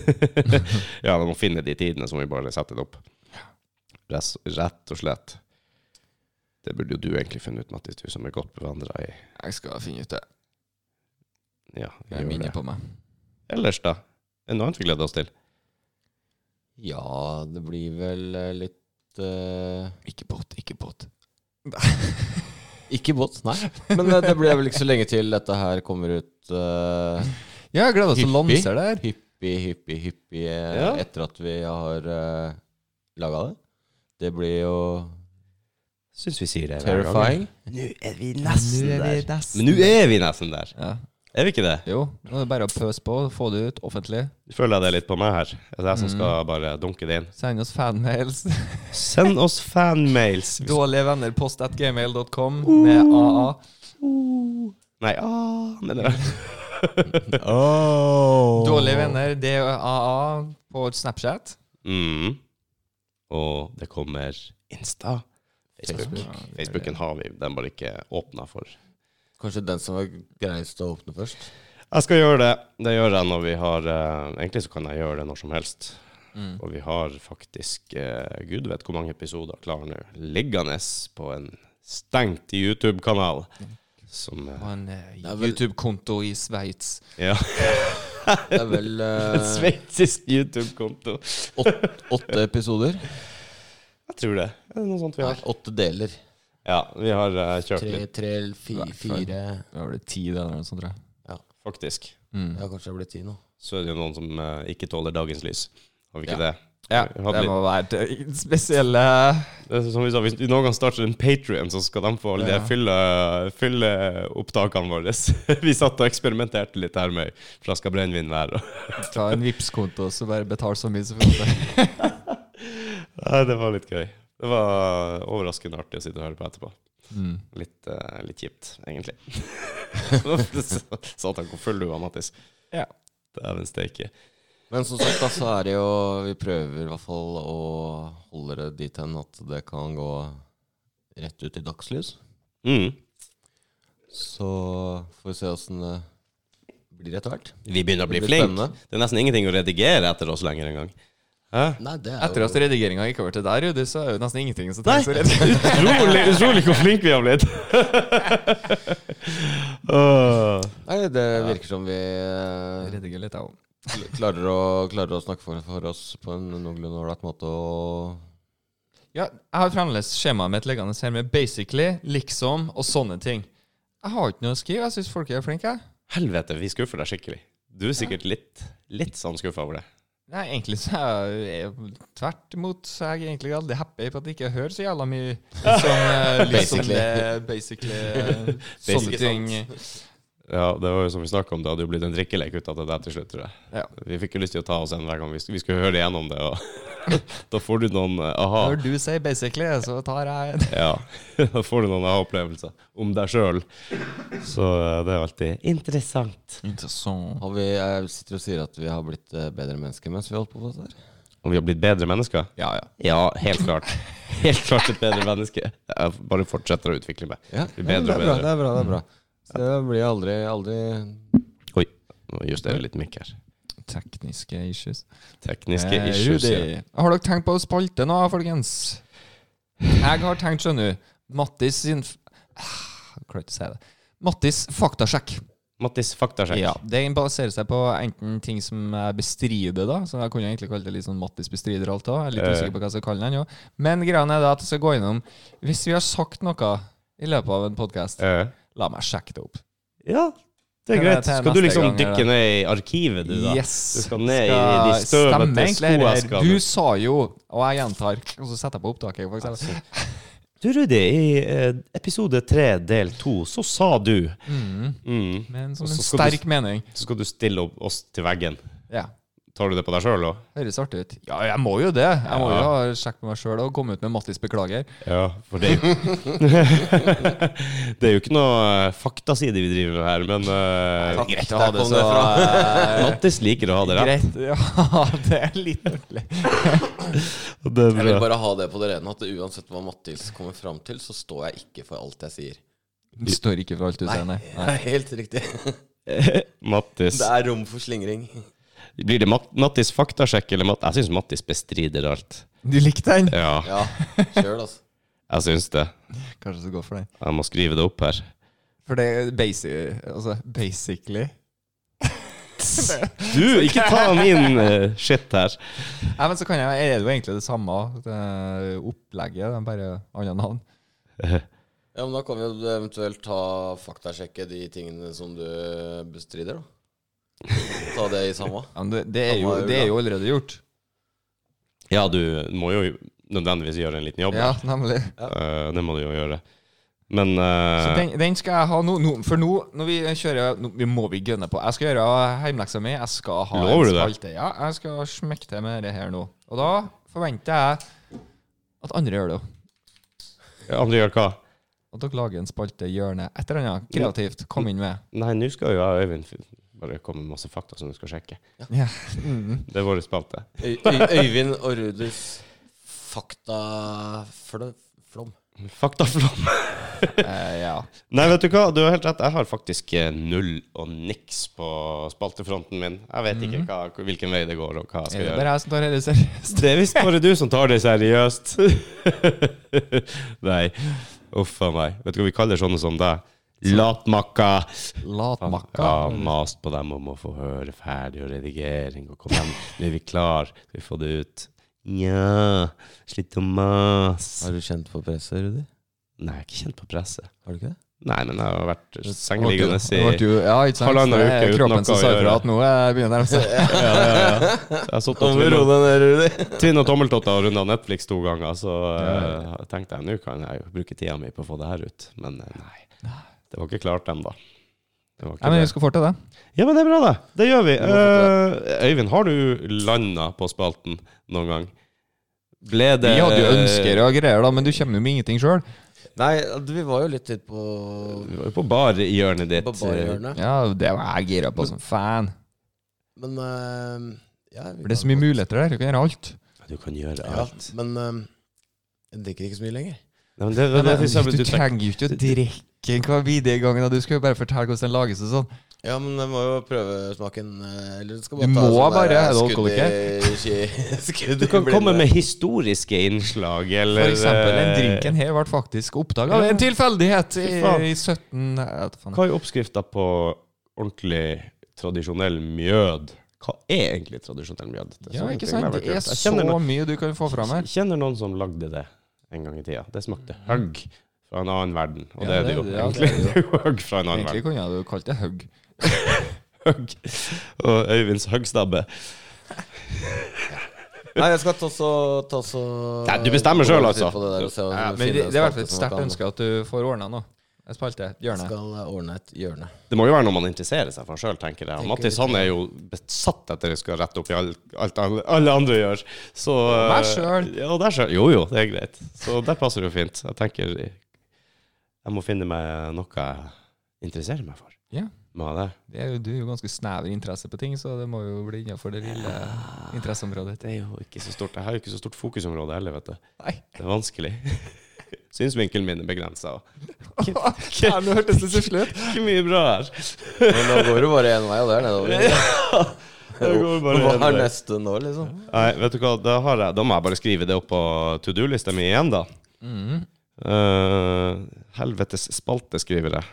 ja, vi må finne de tidene, så må vi bare sette det opp. Res- Rett og slett. Det burde jo du egentlig finne ut, Mattis, du som er godt bevandra i
Jeg skal finne ut det.
ja,
Det er
gjør
minnet
det.
på meg.
Ellers, da? Er det noe annet vi gleder oss til?
Ja, det blir vel eh, litt eh,
Ikke båt, ikke båt.
Ikke båt, nei. Men eh, det blir vel ikke så lenge til dette her kommer ut. eh,
Ja, jeg gleder meg til å
Hyppig.
lanse det her.
hyppig, hyppig, hyppig eh,
Ja.
etter at vi har uh, laga det. Det blir jo
Syns vi sier det. hver gang.
terrifying.
Nå er vi
Nå er vi nesten
Men nå er vi nesten der.
Ja.
Er vi ikke det?
Jo, nå er det bare å pøse på, få det ut offentlig.
Føler jeg det litt på meg her. Det er jeg som
Mm.
skal bare dunke det inn.
Send oss fanmails.
Send oss fanmails. Vi-
Dårlige venner post at gmail.com med AA.
Nei, ah, mener jeg.
Dårlige venner, det er AA på Snapchat.
Mm. Og det kommer Insta. Facebook. Facebooken har vi, den bare ikke åpna for.
Kanskje den som var greiest å åpne først.
Jeg skal gjøre det. Det gjør jeg når vi har eh, Egentlig så kan jeg gjøre det når som helst.
Mm.
Og vi har faktisk eh, gud vet hvor mange episoder klar nå liggende på en stengt YouTube-kanal. Som eh,
Og en eh,
Det Mm. er vel-
YouTube-konto i Sveits.
Ja.
Det er vel eh,
En sveitsisk YouTube-konto.
åtte episoder.
Jeg tror det. Er det noe sånt vi
Nei,
har?
åtte deler.
Ja, vi har eh, kjørt
Tre,
litt,
tre, fi- fire
Det var det ti, det eller noe sånt, tror jeg.
faktisk.
Mm.
Ja, kanskje det blir ti nå.
Så er det jo noen som eh, ikke tåler dagens lys. Har vi ikke det?
Ja,
Vi hadde
det
litt-
må være det spesielle
Det er som vi sa, Hvis du noen gang starter en Patrion, så skal de få alle
Ja.
de fylle, fylle opptakene våre. vi satt og eksperimenterte litt her med ei flaske brennevin hver. og-
Ta en Vipps-konto og så bare betale så mye som mulig.
Nei, det var litt gøy. Det var overraskende artig å sitte og høre på etterpå.
Mm.
Litt, eh, litt kjipt, egentlig. Satan, hvor full du var, Mattis.
Ja.
Dæven steike.
Men som sagt, da, så er det jo Vi prøver i hvert fall å holde det dit hen at det kan gå rett ut i dagslys.
Mm.
Så får vi se åssen det blir etter hvert.
Vi begynner å bli
Det blir
flinke.
spennende.
Det er nesten ingenting å redigere etter oss lenger engang. Hæ?
Nei, det er
Etter
jo
at redigeringa gikk over til der, Rudi, så er det nesten ingenting som
Nei,
trengs å redigere.
utrolig, utrolig hvor flinke vi har blitt. Åh.
Nei, det virker som vi eh,
Rediger litt, jeg òg.
klarer å, klarer å snakke for, for oss på en noenlunde ålreit måte og
Ja, jeg har fremdeles skjemaet mitt liggende her med basically, liksom og sånne ting. Jeg har ikke noe å skrive. Jeg syns folk er flinke. jeg.
Helvete, vi skuffer deg skikkelig. Du er sikkert litt, litt sånn skuffa over det.
Nei, egentlig så er jeg jeg- tvert imot så er jeg egentlig veldig happy på at jeg ikke hører så jævla mye sånn eh, liksom,
Basically.
eh, basically eh, sånne
Basically
ting.
Ja, det var jo som vi snakka om, det hadde jo blitt en drikkelek ut av det der til slutt, tror jeg.
Ja.
Vi fikk jo lyst til å ta oss en hver gang vi, sk- vi skulle høre igjennom det, og da får du noen eh, aha.
Når du sier 'basically', så tar jeg
Ja, da får du noen aha-opplevelser om deg sjøl. Så eh, det er alltid interessant.
Interessant.
Har vi, jeg sitter og sier at vi har blitt eh, bedre mennesker mens vi holdt på med dette. her.
Om vi har blitt bedre mennesker?
Ja, ja.
Ja, helt klart. Helt klart et bedre menneske. Jeg bare fortsetter å utvikle meg.
ja.
Blir
det,
bedre og
er bra,
bedre.
det er bra. Det er bra. Så det blir aldri, aldri
Oi, nå justerer jeg litt mikk her.
Tekniske issues.
Tekniske
Eh,
issues.
Rudi,
Ja.
Har dere tenkt på spalte nå, folkens? Jeg har tenkt, skjønner du. Mattis sin f- Ah, Jeg klarer ikke å si det. Mattis faktasjekk.
Mattis, faktasjekk.
Ja, det baserer seg på enten ting som jeg bestrider, da. Så jeg kunne egentlig kalt det litt sånn Mattis bestrider alt òg. Litt
Eh.
usikker på hva jeg skal kalle den. Jo. Men greia er da at jeg skal gå innom Hvis vi har sagt noe i løpet av en podkast,
Eh,
la meg sjekke det opp.
ja, det er
Kan jeg
greit.
ta
Skal du
neste
liksom
gang,
dykke
eller?
ned i arkivet, du, da?
Yes.
Du skal ned i de støvete
stemme egentlig her.
skoeskene.
Du sa jo, og jeg gjentar, og så setter jeg på opptaket. For eksempel.
Du, Rudi, i eh, episode tre, del to, så sa du
mm,
mm.
men som
Og så
en
skal du-
sterk mening.
Så skal du stille opp oss til veggen.
Ja.
Tar du det på deg sjøl òg?
Høres artig ut. Ja, jeg må jo det. Jeg må jo
Ja.
ha sjekk på meg sjøl og komme ut med Mattis beklager.
Ja, for det er jo Det er jo ikke noe eh, faktaside vi driver med her, men eh,
Takk,
Greit å
der
ha det
kom
så
det
Mattis liker å ha det rett.
Greit. Ja, det er litt ordentlig.
Det er
Jeg vil
bra.
bare ha det på det rene at uansett hva Mattis kommer fram til, så står jeg ikke for alt jeg sier.
Du står ikke for alt du sier, nei.
det er helt riktig.
Mattis.
Det er rom for slingring.
Blir det Mat Mattis faktasjekk eller Matt... Jeg syns Mattis bestrider alt.
Du likte den?
Ja,
Ja, kjør, altså.
jeg syns det.
Kanskje du skal gå for den.
Jeg må skrive det opp her.
For det er basic, altså, basically
Du, ikke ta min eh, shit her.
Nei, men så kan jeg, er det jo egentlig det samme det opplegget, det er bare annet navn.
Ja, men Da kan vi jo eventuelt ta faktasjekke de tingene som du eh, bestrider, da. Ta det i samme.
Ja, men det, det, er jo, det er jo allerede gjort.
Ja, du må jo nødvendigvis gjøre en liten jobb.
Ja, nemlig.
Eh, det må du jo gjøre. Men eh,
Så den, den skal jeg ha nå. nå for nå når vi kjører nå, Vi må vi gønne på. Jeg skal gjøre hjemleksa mi. Jeg skal ha
Lover du det?
spalte. Ja, jeg skal smekke til med det her nå. Og da forventer jeg at andre gjør det òg.
andre gjør hva?
At dere lager en spalte, hjørne, et eller annet kreativt. Kom inn med.
Nei, nå skal jo jeg og Øyvind f- bare komme med masse fakta som du skal sjekke.
Ja. Mm.
Det er vår spalte.
Øy- Øy- Øyvind og Rudis faktaflom.
Faktaflom.
Eh, ja.
Nei, vet du hva? Du har helt rett. Jeg har faktisk eh, null og niks på spaltefronten min. Jeg vet ikke hva, hvilken vei det går, og hva jeg skal
Mhm. Er det
gjøre.
bare jeg som tar dette seriøst?
Det er visst bare du som tar det seriøst. Nei. Uff a meg. Vet du hva vi kaller sånne som deg? Latmakka.
Latmakka.
Ja, mast på dem om å få høre ferdig og redigering. Og kom igjen, nå er vi klar. Skal vi få det ut? Nja, slutt å mase.
Har du kjent på presset, Rudi?
Nei, jeg er ikke kjent på presset.
Har du ikke det?
Nei, men jeg har vært
Ble du-
sengeliggende i
ble du- Ja, ikke sant?
halvannen
Det er
uke uten noe
Kroppen som
å
sa ifra
gjøre.
at nå eh, begynner de å se.
ja, ja, ja. Jeg har sittet og
Ro
tvinnet-
deg ned, Rudi.
tvinnet tommeltotter og runda Netflix to ganger, så eh, tenkte jeg nå kan jeg jo bruke tida mi på å få det her ut. Men eh, nei, det var ikke klart ennå. Det var
Nei,
ikke
men vi
det.
skal få til det.
Ja, men det er bra, det. Det gjør vi.
Vi må få
Eh, Øyvind, har du landa på spalten noen gang? Ble det
Vi hadde jo ønsker og greier, da, men du kommer jo med ingenting sjøl.
Nei, altså, vi var jo litt litt på,
Vi var jo på barhjørnet ditt. eh,
på barhjørnet.
Ja, det var jeg gira på som fan.
Men eh, ja, vi
For det er så
kan
mye
godt-
muligheter der. Du kan gjøre alt.
Du kan gjøre
Ja,
alt.
men eh, jeg drikker ikke så mye lenger.
Nei, men det, det, det,
eh, du
synes jeg ble uttrykt.
trenger jo ikke å drikke hver videre gang, da. du skal jo bare fortelle hvordan den lages og sånn.
Ja, men jeg må jo prøve smaken. eh, Eller skal
Du
bare ta
må
sånn
bare,
der
er du
skudd i-
alkoholiker?
ski- skudd
du
i
kan
blinde.
komme med historiske innslag, eller
For eksempel, den
eh,
drinken her ble faktisk oppdaga ved en tilfeldighet i,
Fy faen.
i 17... Jeg vet faen.
Hva er oppskrifta på ordentlig tradisjonell mjød? Hva er egentlig tradisjonell mjød? Det er
Ja,
sånne
ikke
ting jeg
sant?
har
Det er
hørt. Jeg
så
kjenner noen-
mye du kan få fram her. Mm.
Jeg Kjenner noen som lagde det en gang i tida. Det smakte hugg fra en annen verden. Og det er
Ja,
det
det-
jo.
ja, det
egentlig.
er det jo.
Det er jo hugg fra en annen
Egentlig kunne jeg jo kalt det hugg.
verden. Hugg. Og Øyvinds huggstabbe.
Nei, jeg skal ta så, ta så
Nei, du bestemmer selv, altså.
På det der og se om
Ja,
vi
men
finner
det, det er i hvert
spalte
fall et
som
sterkt
kan-
ønske at du får ordna nå. En spalte. Hjørne.
Skal ordne et hjørne.
Det må jo være noe man interesserer seg for sjøl, tenker jeg. Og
Tenker
Mattis
litt.
han er jo besatt etter å skulle rette opp i alt, alt alle, alle andre gjør. Så eh,
Deg selv.
Ja, deg sjøl. Jo jo, det er greit. Så der passer det jo fint. Jeg tenker jeg må finne meg noe jeg interesserer meg for.
Ja.
Må ha det.
Det er jo, du er jo ganske snever interesse på ting, så det må jo bli innafor det lille interesseområdet.
Det er jo ikke så stort. Jeg har jo ikke så stort fokusområde heller, vet du.
Nei.
Det er vanskelig. Synsvinkelen min er begrensa.
Ja, nå hørtes det stusslig ut.
Ikke mye bra her.
Men da går det bare én vei, og det er nedover.
Det går bare
Hva
en
er
vei.
neste nå, liksom?
Nei, vet du hva, da, har jeg, da må jeg bare skrive det opp på to do-lista mi igjen, da.
Mm.
Eh, helvetes spalte, skriver jeg.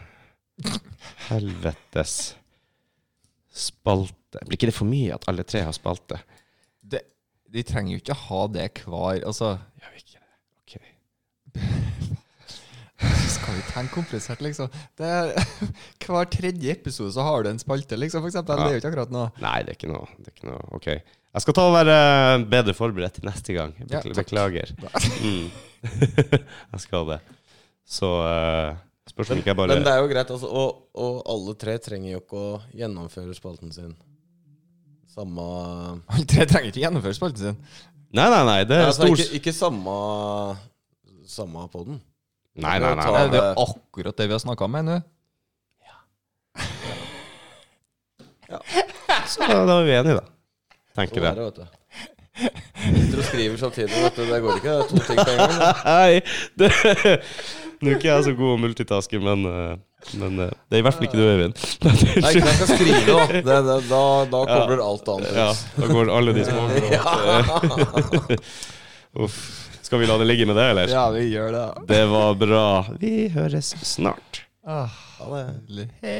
Helvetes spalte Blir ikke det for mye at alle tre har spalte?
Det, de trenger jo ikke ha det hver Altså,
Gjør vi ikke det? Ok.
skal vi tenke komplisert, liksom? Det er, hver tredje episode så har du en spalte, liksom, for
Ja.
eksempel. Det er jo ikke akkurat noe.
Nei, det er ikke noe. Det er ikke noe. Ok. Jeg skal ta og være eh, bedre forberedt til neste gang. Jeg
Ja,
bekl-
takk.
beklager. Mm. jeg skal det. Så eh, spørs om ikke jeg bare
Men det er jo greit, altså. Og, og alle tre trenger jo ikke å gjennomføre spalten sin. Samme
Alle tre trenger ikke gjennomføre spalten sin.
Nei, nei, nei. Det
Nei,
er
altså,
stor
ikke, ikke samme Samme podden.
Nei, nei, nei.
Ta-
nei.
Det er jo akkurat det vi har snakka om ennå.
Så da da er vi enige, da.
Sånn
Tenker
er
jeg.
det, vet du. Sitter og skriver samtidig, vet du. Det går ikke. Det er to ting på en gang. da.
Nei, det, nå er ikke jeg så god å multitaske, men, eh, men eh, det er i hvert fall ikke du, Øyvind.
Nei, ikke når jeg skal skrive, da. Det, det, da, da kobler alt annet
Ja,
ut.
da går alle de små gråt. Uff. Skal vi la det ligge med det, eller?
Ja, vi gjør det.
Det var bra. Vi høres snart.
Ah, Hei.